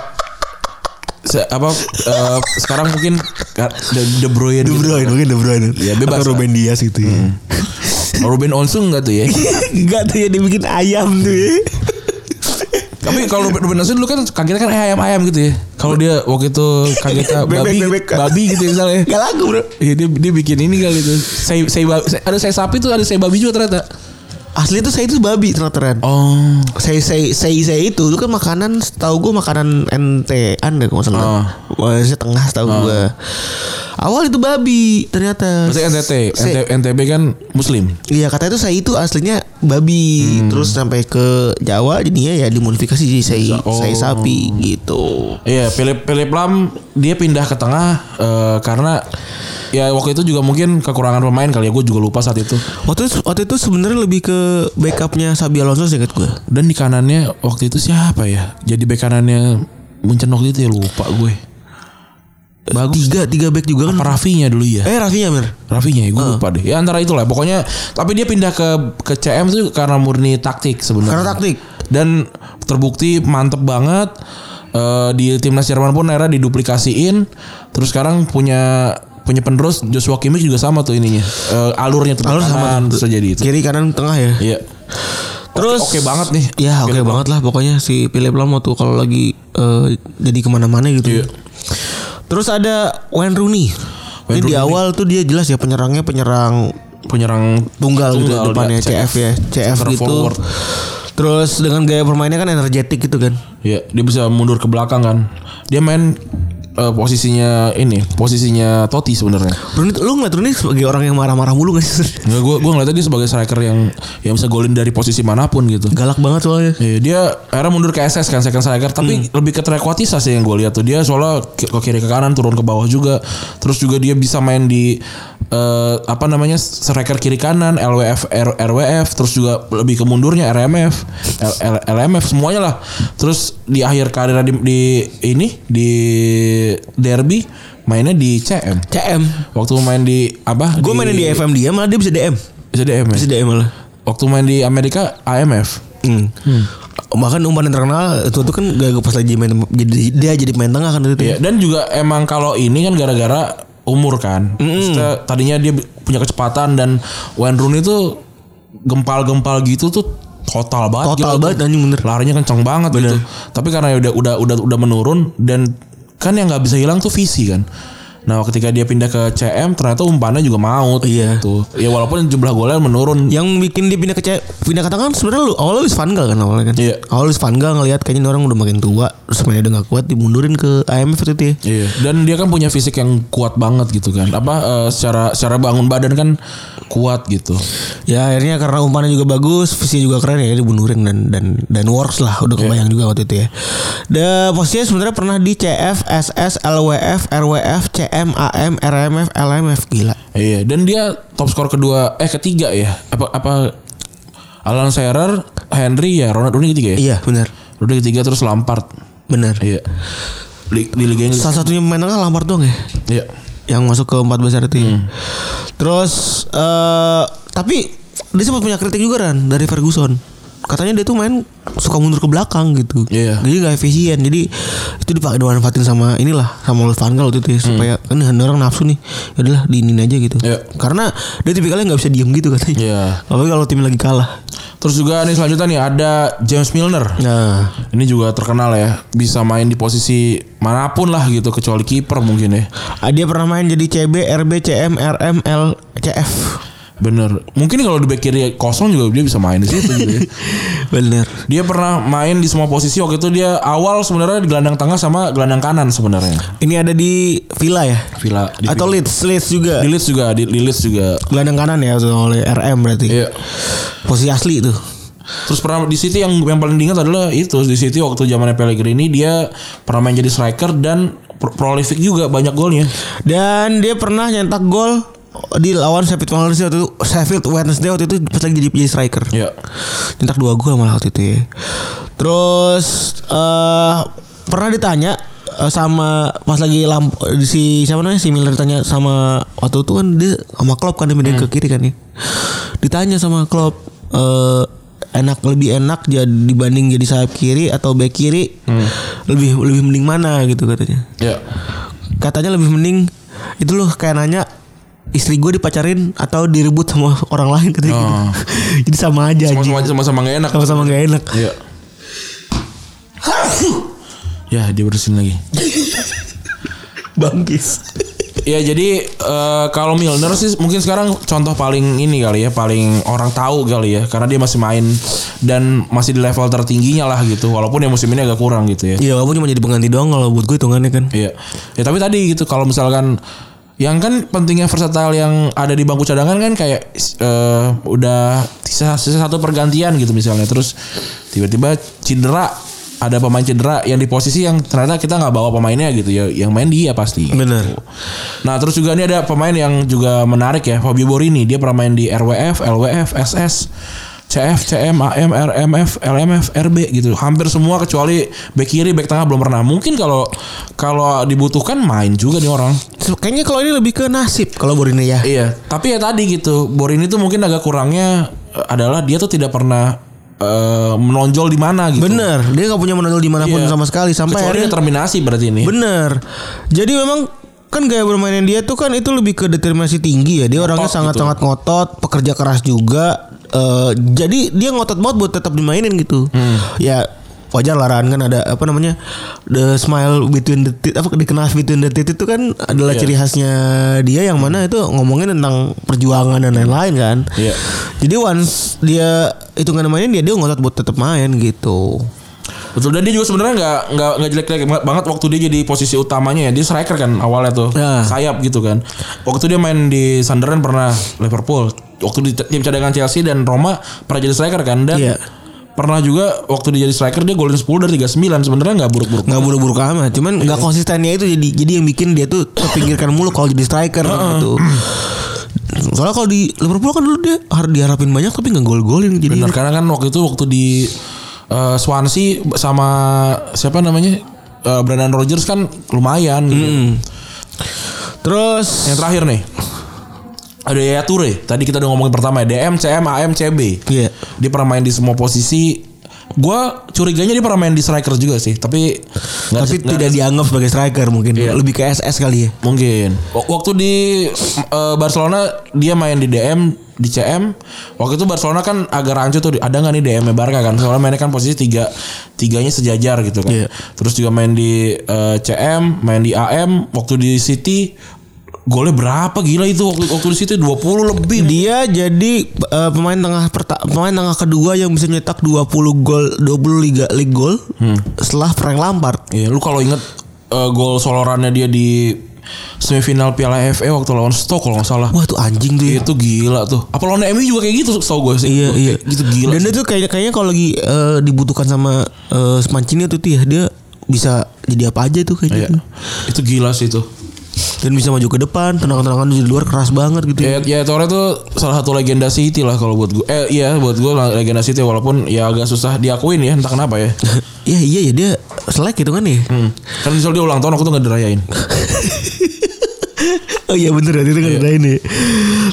B: se- apa eh, sekarang mungkin Ka- De, De Bruyne
D: De
B: gitu.
D: Bruyne mungkin De Bruyne.
B: Ya, bebas. Hmm.
D: Atau Ruben Dias gitu ya.
B: Ruben Onsu enggak tuh ya
D: Enggak tuh ya dibikin ayam tuh ya.
B: tapi kalau Ruben, Ruben Onsu dulu kan kagetnya kan ayam-ayam gitu ya kalau dia waktu itu kagetnya
D: Bebek,
B: babi
D: bebek.
B: babi gitu ya misalnya
D: Gak laku bro
B: Iya dia, dia bikin ini kali tuh. Saya saya babi- saya- ada saya sapi tuh ada saya babi juga ternyata.
D: Asli tuh saya itu babi ternyata Ren
B: Oh.
D: Saya saya saya saya itu itu kan makanan setahu gue makanan NT-an deh kalau nggak
B: Oh.
D: salah. Wah, setengah setahu gue. Awal itu babi ternyata.
B: Maksudnya NTT,
D: Saya-
B: NT- NTB kan muslim.
D: Iya kata itu saya itu aslinya babi
B: Hmm.
D: terus sampai ke Jawa jadinya ya dimodifikasi jadi saya
B: Oh.
D: saya sapi gitu.
B: Iya, Philip Philip Lam dia pindah ke tengah eh, karena ya waktu itu juga mungkin kekurangan pemain kali ya gue juga lupa saat itu.
D: Waktu itu, waktu itu sebenarnya lebih ke backupnya Sabi Alonso sih gue.
B: Dan di kanannya waktu itu siapa ya? Jadi bek kanannya Munchen waktu itu ya lupa gue.
D: Tiga tiga back juga
B: Apa
D: kan.
B: Rafinya dulu ya?
D: Eh Rafinya Mir.
B: Rafinya ya gue lupa deh. Ya antara itulah pokoknya tapi dia pindah ke ke CM tuh karena murni taktik sebenarnya.
D: Karena taktik.
B: Dan terbukti mantep banget Eh, di timnas Jerman pun era diduplikasiin terus sekarang punya punya penerus Joshua Kimmich juga sama tuh ininya. Eh, alurnya tuh
D: Alur sama.
B: kanan, terus jadi itu.
D: Kiri kanan tengah ya.
B: Iya.
D: Terus
B: oke, oke banget nih.
D: Ya oke banget lah pokoknya si Philip Lam tuh kalau lagi eh, jadi kemana-mana gitu.
B: Iya.
D: Terus ada Wayne Rooney.
B: Wayne
D: Ini di
B: Rooney.
D: awal tuh dia jelas ya penyerangnya penyerang
B: Penyerang
D: tunggal, gitu
B: Tunggal,
D: depannya
B: dia-
D: CF ya, CF
B: Center
D: gitu.
B: forward.
D: Terus dengan gaya permainnya kan energetik gitu kan.
B: Iya, dia bisa mundur ke belakang kan. Dia main eh, posisinya ini, posisinya Totti sebenarnya.
D: Rooney, lu ngeliat Rooney sebagai orang yang marah-marah mulu gak sih?
B: Enggak gue gue ngeliatnya dia sebagai striker yang yang bisa golin dari posisi manapun gitu.
D: Galak banget soalnya.
B: Iya, dia akhirnya mundur ke SS kan second striker
D: Hmm.
B: tapi lebih ke Trequartista sih yang gue lihat tuh dia soalnya ke ke kiri ke kanan turun ke bawah juga terus juga dia bisa main di eh, apa namanya striker kiri kanan LWF R- RWF terus juga lebih ke mundurnya RMF L- L- LMF semuanya lah terus di akhir karirnya di, di ini di derby mainnya di CM
D: CM.
B: waktu main di apa
D: Gue mainin di FM dia malah dia bisa DM.
B: bisa DM
D: Iya. Bisa
B: ya?
D: DM malah.
B: waktu main di Amerika AMF
D: Hmm. Bahkan umpan yang terkenal itu tuh kan gak pas lagi main jadi dia jadi main tengah kan itu.
B: Iya, dan juga emang kalau ini kan gara-gara umur kan.
D: Hmm.
B: Maksudnya Tadinya dia bi- punya kecepatan dan Wayne Rooney itu gempal-gempal gitu tuh total banget. gila
D: Total
B: tuh.
D: banget, anjing, bener.
B: Larinya kenceng banget gitu. Tapi karena udah udah udah udah menurun dan kan yang nggak bisa hilang tuh visi kan. Nah, ketika dia pindah ke CM ternyata umpannya juga maut
D: Iya.
B: gitu. Ya walaupun jumlah golnya menurun.
D: Yang bikin dia pindah ke C- pindah ke tengah kan sebenarnya lu awalnya Luis Van Gaal kan awalnya kan.
B: Iya.
D: Awalnya Luis Van Gaal ngelihat kayaknya ini orang udah makin tua, terus mainnya udah gak kuat dimundurin ke IMF itu ya.
B: Iya. Dan dia kan punya fisik yang kuat banget gitu kan. Apa eh, secara secara bangun badan kan kuat gitu.
D: Ya akhirnya karena umpannya juga bagus, visinya juga keren ya dimundurin dan dan dan works lah udah kebayang juga waktu itu ya. The posisinya sebenarnya pernah di CF, SS, LWF, RWF, CM, AM, RMF, LMF gila.
B: Iya, dan dia top skor kedua eh ketiga ya. Apa apa Alan Shearer, Henry ya, Ronald Rooney ketiga ya.
D: Iya benar.
B: Rooney ketiga terus Lampard.
D: Benar.
B: Iya. Di, di Liga Inggris.
D: Salah satunya pemain tengah Lampard doang ya
B: Iya.
D: yang masuk ke empat besar itu. ya.
B: Hmm.
D: Terus eh tapi dia sempat punya kritik juga kan dari Ferguson. Katanya dia tuh main suka mundur ke belakang gitu.
B: Iya.
D: Jadi gak efisien. Jadi itu dipakai dimanfaatin sama inilah sama Luis Van Gaal waktu itu ya, supaya kan ini orang nafsu nih. Ya udahlah diinin aja gitu.
B: Hmm. Iya.
D: Karena dia tipikalnya nggak bisa diem gitu katanya.
B: Iya.
D: Apalagi kalau tim lagi kalah.
B: Terus juga nih selanjutnya nih ada James Milner.
D: Nah,
B: Ini juga terkenal ya, bisa main di posisi manapun lah gitu kecuali kiper mungkin ya.
D: Ah, dia pernah main jadi CB, RB, CM, RM, L, CF.
B: Bener. Mungkin kalau di back kiri kosong juga dia bisa main di situ gitu ya.
D: Bener.
B: Dia pernah main di semua posisi waktu itu dia awal sebenarnya di gelandang tengah sama gelandang kanan sebenarnya.
D: Ini ada di Villa ya?
B: Villa di
D: Atau Leeds, Leeds juga.
B: di list juga di, di list juga
D: Gelandang kanan ya oleh RM berarti.
B: Iya.
D: Posisi asli itu.
B: terus pernah di City yang yang paling diingat adalah itu di City waktu zamannya Pellegrini dia pernah main jadi striker dan pro- prolific juga banyak golnya
D: Dan dia pernah nyentak gol di lawan Sheffield Wednesday waktu itu Sheffield Wednesday waktu itu pas lagi jadi, jadi striker.
B: Iya.
D: Nyentak dua gol malah waktu itu ya. Terus eh pernah ditanya eh, sama pas lagi lamp di si siapa namanya si Miller ditanya sama waktu itu kan dia sama Klopp kan dia pindah ke kiri kan ya. Ditanya sama Klopp eh enak lebih enak jadi dibanding jadi sayap kiri atau back kiri lebih lebih mending mana gitu katanya
B: ya
D: katanya lebih mending itu loh kayak nanya istri gue dipacarin atau direbut sama orang lain katanya gitu.
B: Oh.
D: Jadi sama aja
B: sama
D: anjing.
B: sama sama sama nggak enak
D: sama-sama gak enak.
B: ya ya dia bersin lagi
D: Bangkis.
B: Ya jadi eh, kalau Milner sih mungkin sekarang contoh paling ini kali ya paling orang tahu kali ya karena dia masih main dan masih di level tertingginya lah gitu walaupun ya musim ini agak kurang gitu ya.
D: Iya, walaupun cuma jadi pengganti doang kalau buat gue hitungannya kan.
B: Iya. Ya tapi tadi gitu kalau misalkan yang kan pentingnya versatile yang ada di bangku cadangan kan kayak eh, udah sisa, sisa satu pergantian gitu misalnya terus tiba-tiba cedera ada pemain cedera yang di posisi yang ternyata kita nggak bawa pemainnya gitu ya yang main dia pasti.
D: Bener.
B: Nah terus juga ini ada pemain yang juga menarik ya Fabio Borini dia pernah main di RWF, LWF, SS, CF, CM, AM, RMF, LMF, RB gitu hampir semua kecuali back kiri, back tengah belum pernah. Mungkin kalau kalau dibutuhkan main juga nih orang.
D: So, Kayaknya kalau ini lebih ke nasib kalau Borine ya.
B: Iya. Tapi ya tadi gitu Borini tuh mungkin agak kurangnya eh, adalah dia tuh tidak pernah eh, menonjol di mana gitu.
D: Bener, dia gak punya menonjol dimanapun
B: Iya.
D: sama sekali sampai
B: Kecuali
D: akhirnya-
B: determinasi berarti ini.
D: Bener. Jadi memang kan gaya bermainnya dia tuh kan itu lebih ke determinasi tinggi ya. Dia orangnya sangat-sangat ngotot, pekerja keras juga. Eh, jadi dia ngotot banget buat tetap dimainin gitu. Ya wajar larangan kan ada apa namanya the smile between the teeth apa the knife between the teeth itu kan adalah ciri khasnya dia yang mana itu ngomongin tentang perjuangan dan lain-lain kan.
B: Iya.
D: Jadi once dia hitungan mainin dia dia ngotot buat tetap main gitu.
B: Betul dan dia juga sebenarnya nggak nggak nggak jelek-jelek banget waktu dia jadi posisi utamanya ya dia striker kan awalnya tuh
D: Ya.
B: sayap gitu kan waktu dia main di Sunderland pernah Liverpool waktu di tim cadangan Chelsea dan Roma pernah jadi striker kan dan
D: Iya.
B: pernah juga waktu dia jadi striker dia golin 10 dari 39 sebenarnya nggak buruk-buruk
D: nggak buruk-buruk amat cuman nggak konsistennya itu jadi jadi yang bikin dia tuh terpinggirkan mulu kalau jadi striker gitu soalnya kalau di Liverpool kan dulu dia har- diharapin banyak tapi nggak gol-golin jadi
B: Bener karena kan waktu itu waktu di eh, Swansea sama siapa namanya Eh, Brendan Rodgers kan lumayan. gitu.
D: terus
B: Yang terakhir nih ada Yaya Toure. Tadi kita udah ngomongin pertama ya DM, CM, AM, CB.
D: Iya.
B: Dia pernah main di semua posisi. Gua curiganya dia pernah main di striker juga sih, tapi nggak-
D: tapi
B: nggak-
D: tidak dianggap sebagai striker mungkin lebih ke SS kali ya
B: Mungkin. W- Waktu di eh, Barcelona dia main di DM, di CM. Waktu itu Barcelona kan agak rancu tuh. Ada nggak nih DM-nya Barca kan? Soalnya mainnya kan posisi tiga tiganya sejajar gitu kan.
D: Iya.
B: Terus juga main di eh, CM, main di AM. Waktu di City golnya berapa gila itu waktu waktu di City 20 lebih.
D: dia jadi eh, pemain tengah perta- pemain tengah kedua yang bisa nyetak 20 gol 20 liga league gol setelah Frank Lampard
B: Iya, lu kalau inget eh, gol solorannya dia di semifinal Piala FA waktu lawan Stoke kalau nggak salah.
D: wah tuh anjing tuh ya.
B: Itu gila tuh. Apa lawan MU juga kayak gitu tau gue sih.
D: Iya iya.
B: Gitu gila.
D: Dan
B: sih.
D: dia tuh kayak kayaknya kalau lagi eh, dibutuhkan sama eh, Mancini tuh ya dia bisa jadi apa aja tuh kayaknya.
B: Iya.
D: tuh.
B: Itu gila sih itu.
D: Dan bisa maju ke depan, tendangan-tendangan di luar keras banget gitu.
B: Ya, ya Torre tuh salah satu legenda City lah kalau buat gue. Eh iya buat gue legenda City walaupun ya agak susah diakuin ya entah kenapa ya.
D: Iya iya ya dia selek gitu kan ya.
B: Hmm. Kan soalnya dia ulang tahun aku tuh nggak dirayain.
D: Oh iya bener ya itu kan ada ini.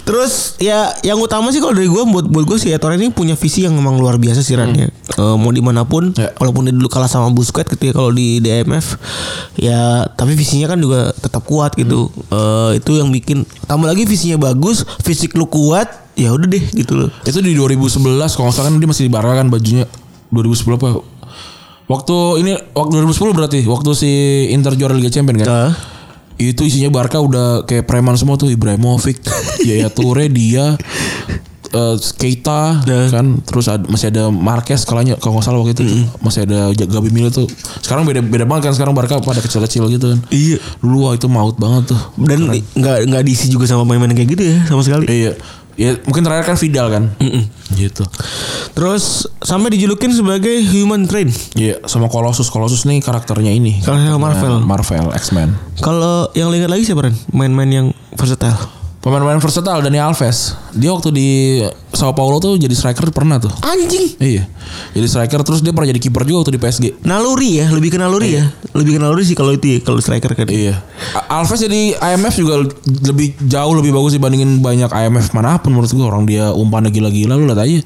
D: Terus ya yang utama sih kalau dari gue buat buat gue sih ya Torre ini punya visi yang memang luar biasa sih Ran ya. Eh, mau dimanapun,
B: Hmm. Ya.
D: walaupun dia dulu kalah sama Busquets gitu ya kalau di DMF ya tapi visinya kan juga tetap kuat gitu.
B: Hmm.
D: Eh, itu yang bikin tambah lagi visinya bagus, fisik lu kuat, ya udah deh gitu loh.
B: Itu di 2011 kalau nggak salah kan dia masih di Barca kan bajunya 2010 apa? Waktu ini waktu 2010 berarti waktu si Inter juara Liga Champions kan.
D: Heeh.
B: Itu isinya Barca udah kayak preman semua tuh Ibrahimovic, Yaya Toure, dia eh, Keita
D: Dah.
B: kan terus ada- masih ada Marquez kalanya kalau nggak salah waktu itu masih ada Ja- Gabi Milo tuh. Sekarang beda beda banget kan sekarang Barca pada kecil-kecil gitu kan.
D: Iya.
B: Dulu wah itu maut banget tuh.
D: Dan di- nggak nggak diisi juga sama pemain-pemain kayak gitu ya sama sekali.
B: Iya. Ya mungkin terakhir kan Vidal kan. Gitu.
D: Terus sampai dijulukin sebagai human train.
B: Iya, sama Colossus. Colossus nih karakternya ini.
D: Karakter Marvel.
B: Marvel, X-Men.
D: Kalau yang lo ingat lagi siapa Ran? Main-main yang versatile.
B: Pemain-pemain versatile Dani Alves. Dia waktu di Sao Paulo tuh jadi striker pernah tuh.
D: Anjing.
B: Iya. Jadi striker terus dia pernah jadi kiper juga waktu di PSG.
D: Naluri ya, lebih ke naluri ya. Lebih ke naluri sih kalau itu ya, kalau striker kan.
B: Iya. A- Alves jadi IMF juga lebih jauh lebih bagus dibandingin banyak IMF manapun menurut gua orang dia umpannya gila-gila lu lihat aja.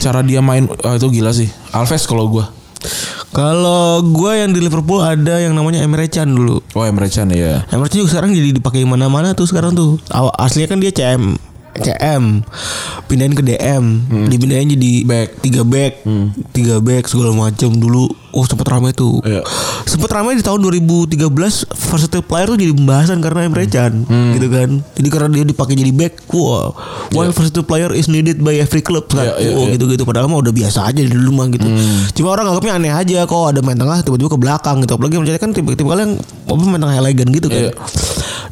B: Cara dia main ah, itu gila sih. Alves kalau gua.
D: Kalau gua yang di Liverpool ada yang namanya Emre Can dulu.
B: Oh, Emre Can ya.
D: Emre Can juga sekarang jadi dipakai mana-mana tuh sekarang tuh. Aw- Aslinya kan dia CM CM pindahin ke DM dipindahin jadi
B: Back.
D: tiga back tiga back segala macam dulu oh sempet ramai tuh
B: Iya.
D: sempet ramai di tahun 2013 versatile player tuh jadi pembahasan karena Emre Can gitu kan jadi karena dia dipakai jadi back wah why versatile player is needed by every club
B: Iya,
D: kan
B: iya,
D: oh
B: iya.
D: gitu-gitu padahal mah udah biasa aja di dulu mah gitu cuma orang anggapnya aneh aja kok ada main tengah tiba-tiba ke belakang gitu apalagi Emre Can kan tiba-tiba kalian apa main tengah elegan gitu kan
B: Iya.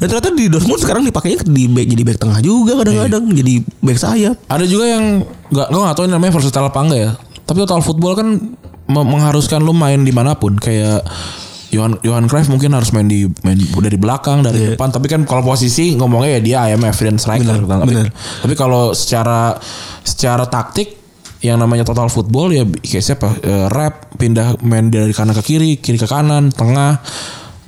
D: dan ternyata di Dortmund sekarang dipakainya di back jadi back tengah juga kadang-kadang jadi back sayap
B: Ada juga yang nggak gue nggak tahu ini namanya versatile apa enggak ya. Tapi total football kan me- mengharuskan lu main dimanapun kayak Johan Johan Cruyff mungkin harus main di main dari belakang dari depan tapi kan kalau posisi ngomongnya ya dia IMF dan striker
D: Bener,
B: tapi,
D: bener.
B: tapi kalau secara secara taktik yang namanya total football ya kayak siapa Eh, rap pindah main dari kanan ke kiri kiri ke kanan tengah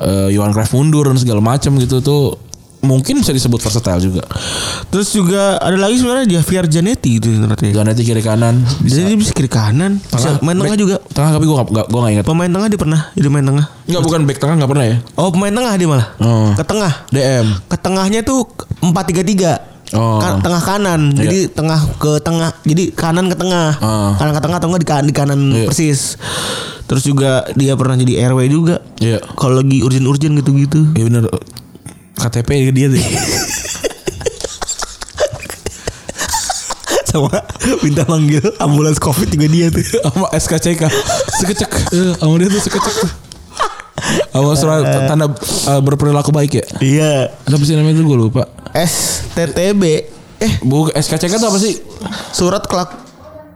B: eh, Johan Cruyff mundur dan segala macam gitu tuh mungkin bisa disebut versatile juga
D: terus juga ada lagi sebenarnya Javier Zanetti gitu ternyata
B: Zanetti kiri kanan
D: jadi dia bisa kiri kanan bisa main tengah
B: back-
D: juga
B: Tengah tapi gue gak, gak, gua gak inget
D: pemain tengah dia pernah jadi main tengah
B: Enggak bukan back tengah gak pernah ya
D: oh pemain tengah dia malah
B: Oh.
D: ke tengah
B: DM
D: ke tengahnya tuh 4-3-3
B: Oh.
D: Kan- tengah kanan
B: Iya.
D: jadi tengah ke tengah jadi kanan ke tengah
B: Ah.
D: kanan ke tengah atau enggak di, kan- di kanan
B: Iya.
D: persis terus juga dia pernah jadi RW juga
B: Iya
D: kalau lagi urgent-urgent gitu-gitu
B: Iya bener ya KTP dia deh
D: sama minta manggil ambulans covid juga dia tuh.
B: sama SKCK sekecek Eh, sama dia tuh sekecek tuh sama surat tanda eh, berperilaku baik ya
D: Iya.
B: ada apa sih namanya itu gue lupa
D: STTB eh
B: bu SKCK tuh apa sih
D: surat kelak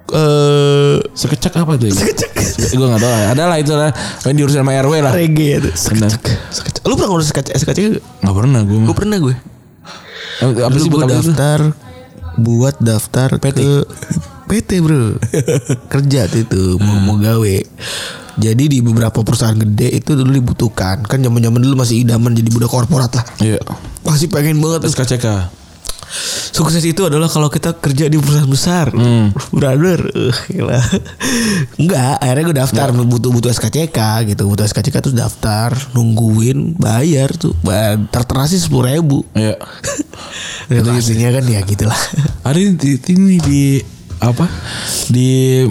D: eh
B: sekecek apa tuh ya? gue gak tau lah ada lah itu lah Yang diurusin sama RW lah
D: reggae itu.
B: Bener.
D: ya Sekecek. Lu pernah ngurus sekecek sekecek?
B: Gak pernah gue
D: Gue pernah gue.
B: Apa
D: Dulu
B: sih
D: gua
B: buat apa itu?
D: daftar buat daftar
B: PT.
D: ke PT bro kerja tuh itu
B: Hmm.
D: mau mau gawe jadi di beberapa perusahaan gede itu dulu dibutuhkan kan zaman zaman dulu masih idaman jadi budak korporat lah
B: Iya
D: masih pengen banget
B: SKCK
D: sukses itu adalah kalau kita kerja di perusahaan besar
B: Hmm.
D: brother eh, gila enggak akhirnya gue daftar butuh butuh SKCK gitu butuh SKCK terus daftar nungguin bayar tuh Ba- tertera sih sepuluh ribu
B: Iya
D: gitu isinya kan ya gitulah
B: Ada di- di ini di Apa Di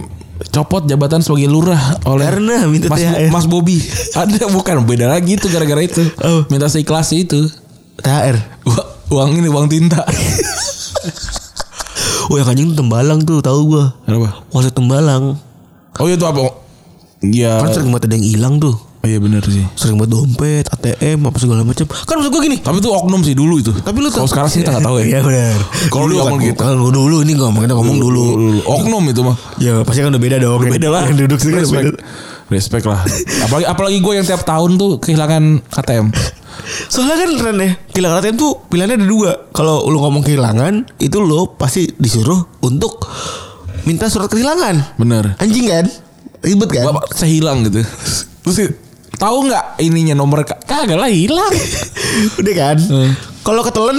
B: copot jabatan sebagai lurah oleh
D: Karena minta
B: Mas,
D: THR.
B: Mas Bobby ada bukan beda lagi itu gara-gara itu
D: Oh.
B: minta seikhlas itu
D: THR
B: Ua- uang ini uang tinta
D: Wah yang anjing Oh, ya, tembalang tuh tahu gua
B: kenapa
D: Wasit tembalang
B: oh itu apa ya
D: Kan sering banget ada yang hilang tuh
B: oh, iya benar sih
D: Sering banget dompet, ATM, apa segala macam. Kan maksud gua gini
B: tapi itu oknum sih dulu itu
D: Tapi lu
B: kalau sekarang sih kita nggak tahu ya
D: Iya benar.
B: Kalau
D: Dulu
B: dulu
D: kan
B: ngomong
D: gua-
B: gitu.
D: Kalau gua dulu ini ngomong kita ngomong dulu.
B: oknum itu mah
D: Ya pasti kan udah beda dong. Yang-
B: beda lah
D: Yang duduk sini kan
B: respect
D: beda.
B: respect lah apalagi apalagi gue yang tiap tahun tuh kehilangan KTM
D: Soalnya kan keren ya Kehilangan ATM tuh pilihannya ada dua Kalau lu ngomong kehilangan Itu lo pasti disuruh untuk Minta surat kehilangan
B: bener
D: Anjing kan Ribet kan
B: bapak saya hilang gitu terus sih, tahu nggak ininya nomor K- kagak lah hilang
D: Udah kan
B: Hmm.
D: Kalau ketelan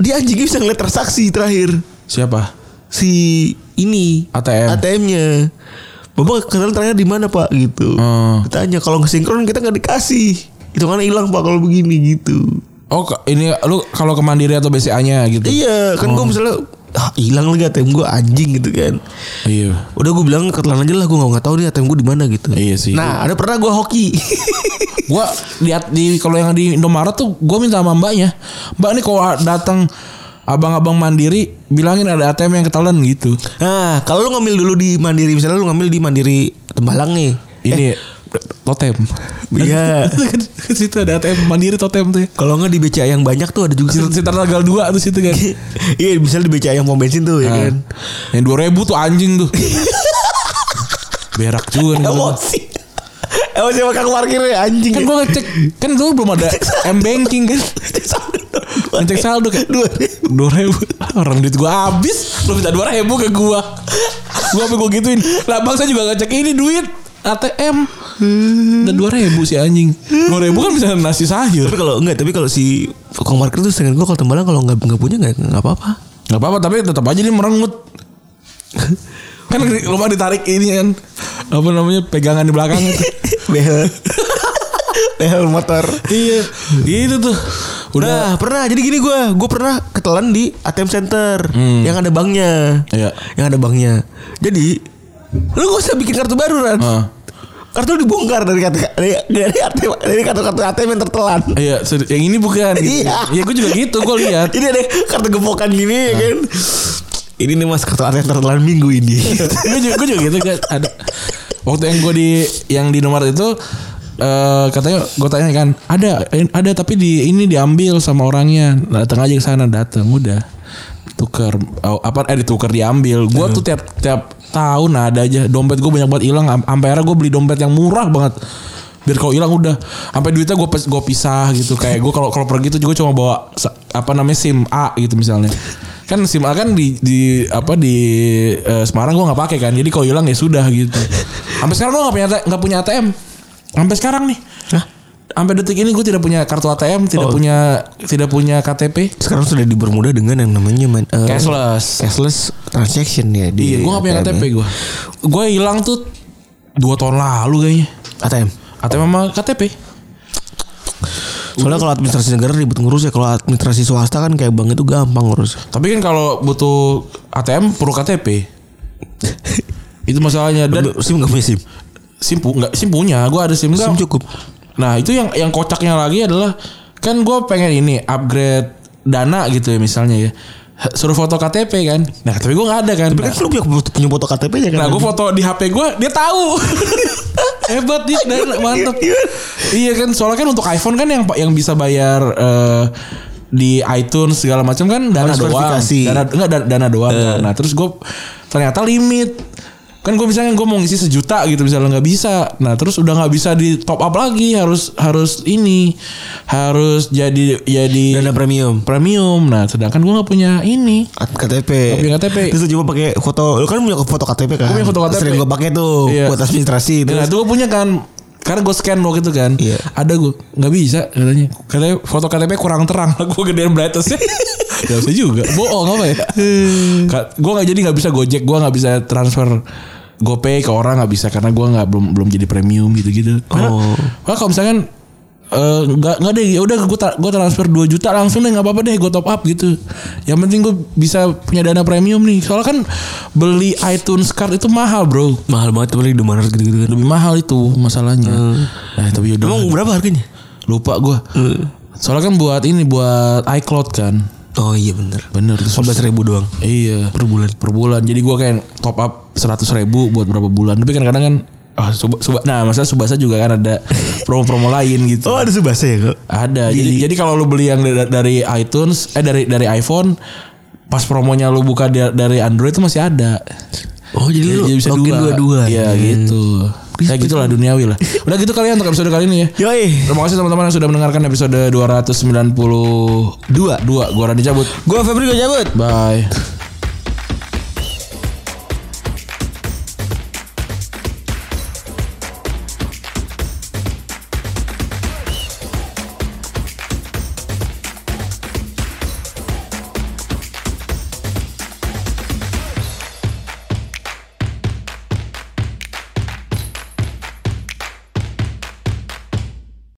D: Dia anjingnya bisa ngeliat transaksi terakhir
B: siapa
D: si ini
B: ATM.
D: ATM-nya. Bapak kalian terakhir di mana Pak gitu.
B: Hmm.
D: Ditanya kalau nggak sinkron kita nggak dikasih. Itu kan hilang Pak kalau begini gitu.
B: oh ke- ini lu kalau ke Mandiri atau BCA nya gitu
D: Iya, kan gua misalnya ah, hilang lagi ATM gua anjing gitu kan.
B: iya
D: Udah gue bilang ketelan aja lah gue nggak tahu nih ATM gue di mana gitu.
B: Iya sih.
D: Nah ada pernah gue hoki.
B: gua lihat di kalau yang di Indomaret tuh gua minta sama mbaknya mbak nih kalau datang abang-abang mandiri bilangin ada ATM yang ketelan gitu
D: nah kalau lu ngambil dulu di Mandiri misalnya lu ngambil di Mandiri Tembalang nih.
B: ini totem
D: Iya.
B: Eh. Ke situ ada ATM mandiri totem tuh ya.
D: Kalau nggak di BCA yang banyak tuh ada juga.
B: Situ- sekitar tanggal 2 tuh situ kan
D: iya misalnya di BCA yang pom bensin tuh ya
B: Nah,
D: kan.
B: yang 2000 tuh anjing tuh berak juga
D: Iya,
B: nih gua.
D: Emosi. Emosi sama kang parkirnya anjing.
B: kan
D: Kan
B: gua ngecek kan dulu belum ada m banking kan ngecek saldo kan
D: Dua.
B: dua ribu orang duit gua habis lu minta dua ribu ke gua gua apa gua gituin lah bang saya juga ngecek ini duit ATM dan dua ribu si anjing dua ribu kan bisa nasi sayur
D: Tapi kalau enggak, tapi kalau si kang parkir tuh dengan gua kalau tembalang kalau nggak nggak punya nggak nggak apa-apa.
B: nggak apa-apa tapi tetap aja dia merengut kan di- rumah ditarik ini kan apa namanya pegangan di belakang
D: Behel. Behel motor.
B: iya gitu tuh udah
D: Nah, pernah. Jadi gini gua, gua pernah ketelan di ATM Center yang ada banknya.
B: Iya.
D: Yang ada banknya. Jadi lu gak usah bikin kartu baru kan.
B: Ah.
D: Kartu lu dibongkar dari kartu dari dari ATM dari kartu-kartu ATM yang tertelan.
B: Iya, seri- yang ini bukan. Gitu.
D: Iya.
B: ya gue juga gitu, gue lihat.
D: Ini ada kartu gepokan gini ya kan. Ini nih mas kartu ATM tertelan minggu ini.
B: gue juga, gua juga gitu kan. Ada waktu yang gue di yang di nomor itu eh katanya gue tanya kan ada eh, ada tapi di ini diambil sama orangnya datang aja ke sana datang udah tuker oh, apa eh ditukar diambil gue tuh tiap tiap tahun ada aja dompet gue banyak banget hilang Am- sampai akhirnya gue beli dompet yang murah banget biar kalau hilang udah sampai duitnya gue gue pisah gitu kayak gue kalau kalau pergi tuh gue cuma bawa sa- apa namanya sim A gitu misalnya kan sim A kan di di apa di eh, Semarang gue nggak pakai kan jadi kalau hilang ya sudah gitu sampai sekarang gue nggak punya nggak punya ATM sampai sekarang nih sampai detik ini gue tidak punya kartu ATM tidak punya tidak punya KTP
D: Sekarang sudah dipermudah dengan yang namanya man- eh,
B: Cashless.
D: cashless transaction ya di
B: iya gue nggak punya
D: ATM
B: KTP
D: ya.
B: gue gue hilang tuh dua tahun lalu kayaknya
D: ATM.
B: ATM sama KTP
D: Soalnya kalau administrasi negara ribet ngurus ya. Kalau administrasi swasta kan kayak bank itu gampang ngurus.
B: Tapi kan kalau butuh ATM perlu KTP. itu masalahnya dan
D: SIM nggak punya SIM.
B: SIM pu- nggak SIM punya, gue ada SIM
D: SIM
B: nggak?
D: cukup.
B: Nah itu yang yang kocaknya lagi adalah kan gue pengen ini upgrade dana gitu ya misalnya ya. suruh foto KTP kan. Nah, tapi gue nggak ada kan.
D: Tapi
B: Nah,
D: kan lu punya, punya foto KTP-nya kan?
B: Nah gue
D: anjing?
B: foto di HP gue Dia tahu Hebat dia dan mantep Iya kan soalnya kan untuk iPhone kan yang yang bisa bayar eh, di iTunes segala macam kan dana
D: Harus
B: doang
D: verifikasi.
B: dana enggak da- dana doang kan. nah terus gue ternyata limit kan gue misalnya gue mau ngisi sejuta gitu misalnya nggak bisa nah terus udah nggak bisa di top up lagi harus harus ini harus jadi jadi
D: dana premium.
B: premium nah sedangkan gue nggak punya ini
D: KTP.
B: Nggak punya KTP.
D: Terus lu coba pakai foto, lu kan punya foto KTP kan?
B: punya foto KTP.
D: Sering gua pakai tuh
B: Iya.
D: buat administrasi
B: Nah
D: terus.
B: itu gue punya kan karena gue scan waktu itu kan
D: Iya.
B: Ada gue Gak bisa katanya Katanya foto KTP kurang terang Gue gedein brightnessnya Gak bisa juga Bohong apa ya Gue gak jadi gak bisa gojek Gue gak bisa transfer GoPay ke orang gak bisa Karena gue gak belum belum jadi premium gitu-gitu Karena
D: Oh.
B: karena kalau misalkan eh, nggak nggak deh ya udah gue gue transfer 2 juta langsung deh nggak apa-apa deh gue top up gitu yang penting gue bisa punya dana premium nih soalnya kan beli iTunes card itu mahal bro
D: Mahal banget tuh beli di mana gitu-gitu kan.
B: lebih mahal itu masalahnya. Nah, tapi udah
D: Hmm. Emang Hmm. berapa harganya?
B: lupa gua. Soalnya kan buat ini buat iCloud kan.
D: Oh iya bener.
B: Bener tuh.
D: Sebelas ribu doang.
B: Iya. Per bulan. Per bulan. Jadi gua kayak top up 100 ribu buat berapa bulan. Tapi kadang-kadang kan ah, Suba- Suba- nah masalah Subasa juga kan ada promo-promo lain gitu.
D: Oh ada subasa ya kok?
B: Ada. Jadi jadi kalau lu beli yang da- dari iTunes eh dari dari iPhone pas promonya lu buka da- dari Android itu masih ada.
D: Oh jadi lu
B: Iya, jadi bisa
D: login
B: dua.
D: dua-dua.
B: Iya gitu. Ya gitulah duniawi lah. Udah gitu kali ya untuk episode kali ini ya.
D: Yoi.
B: Terima kasih teman-teman yang sudah mendengarkan episode 292. Dua. Gua Rani cabut.
D: Gua Febri gua cabut.
B: Bye.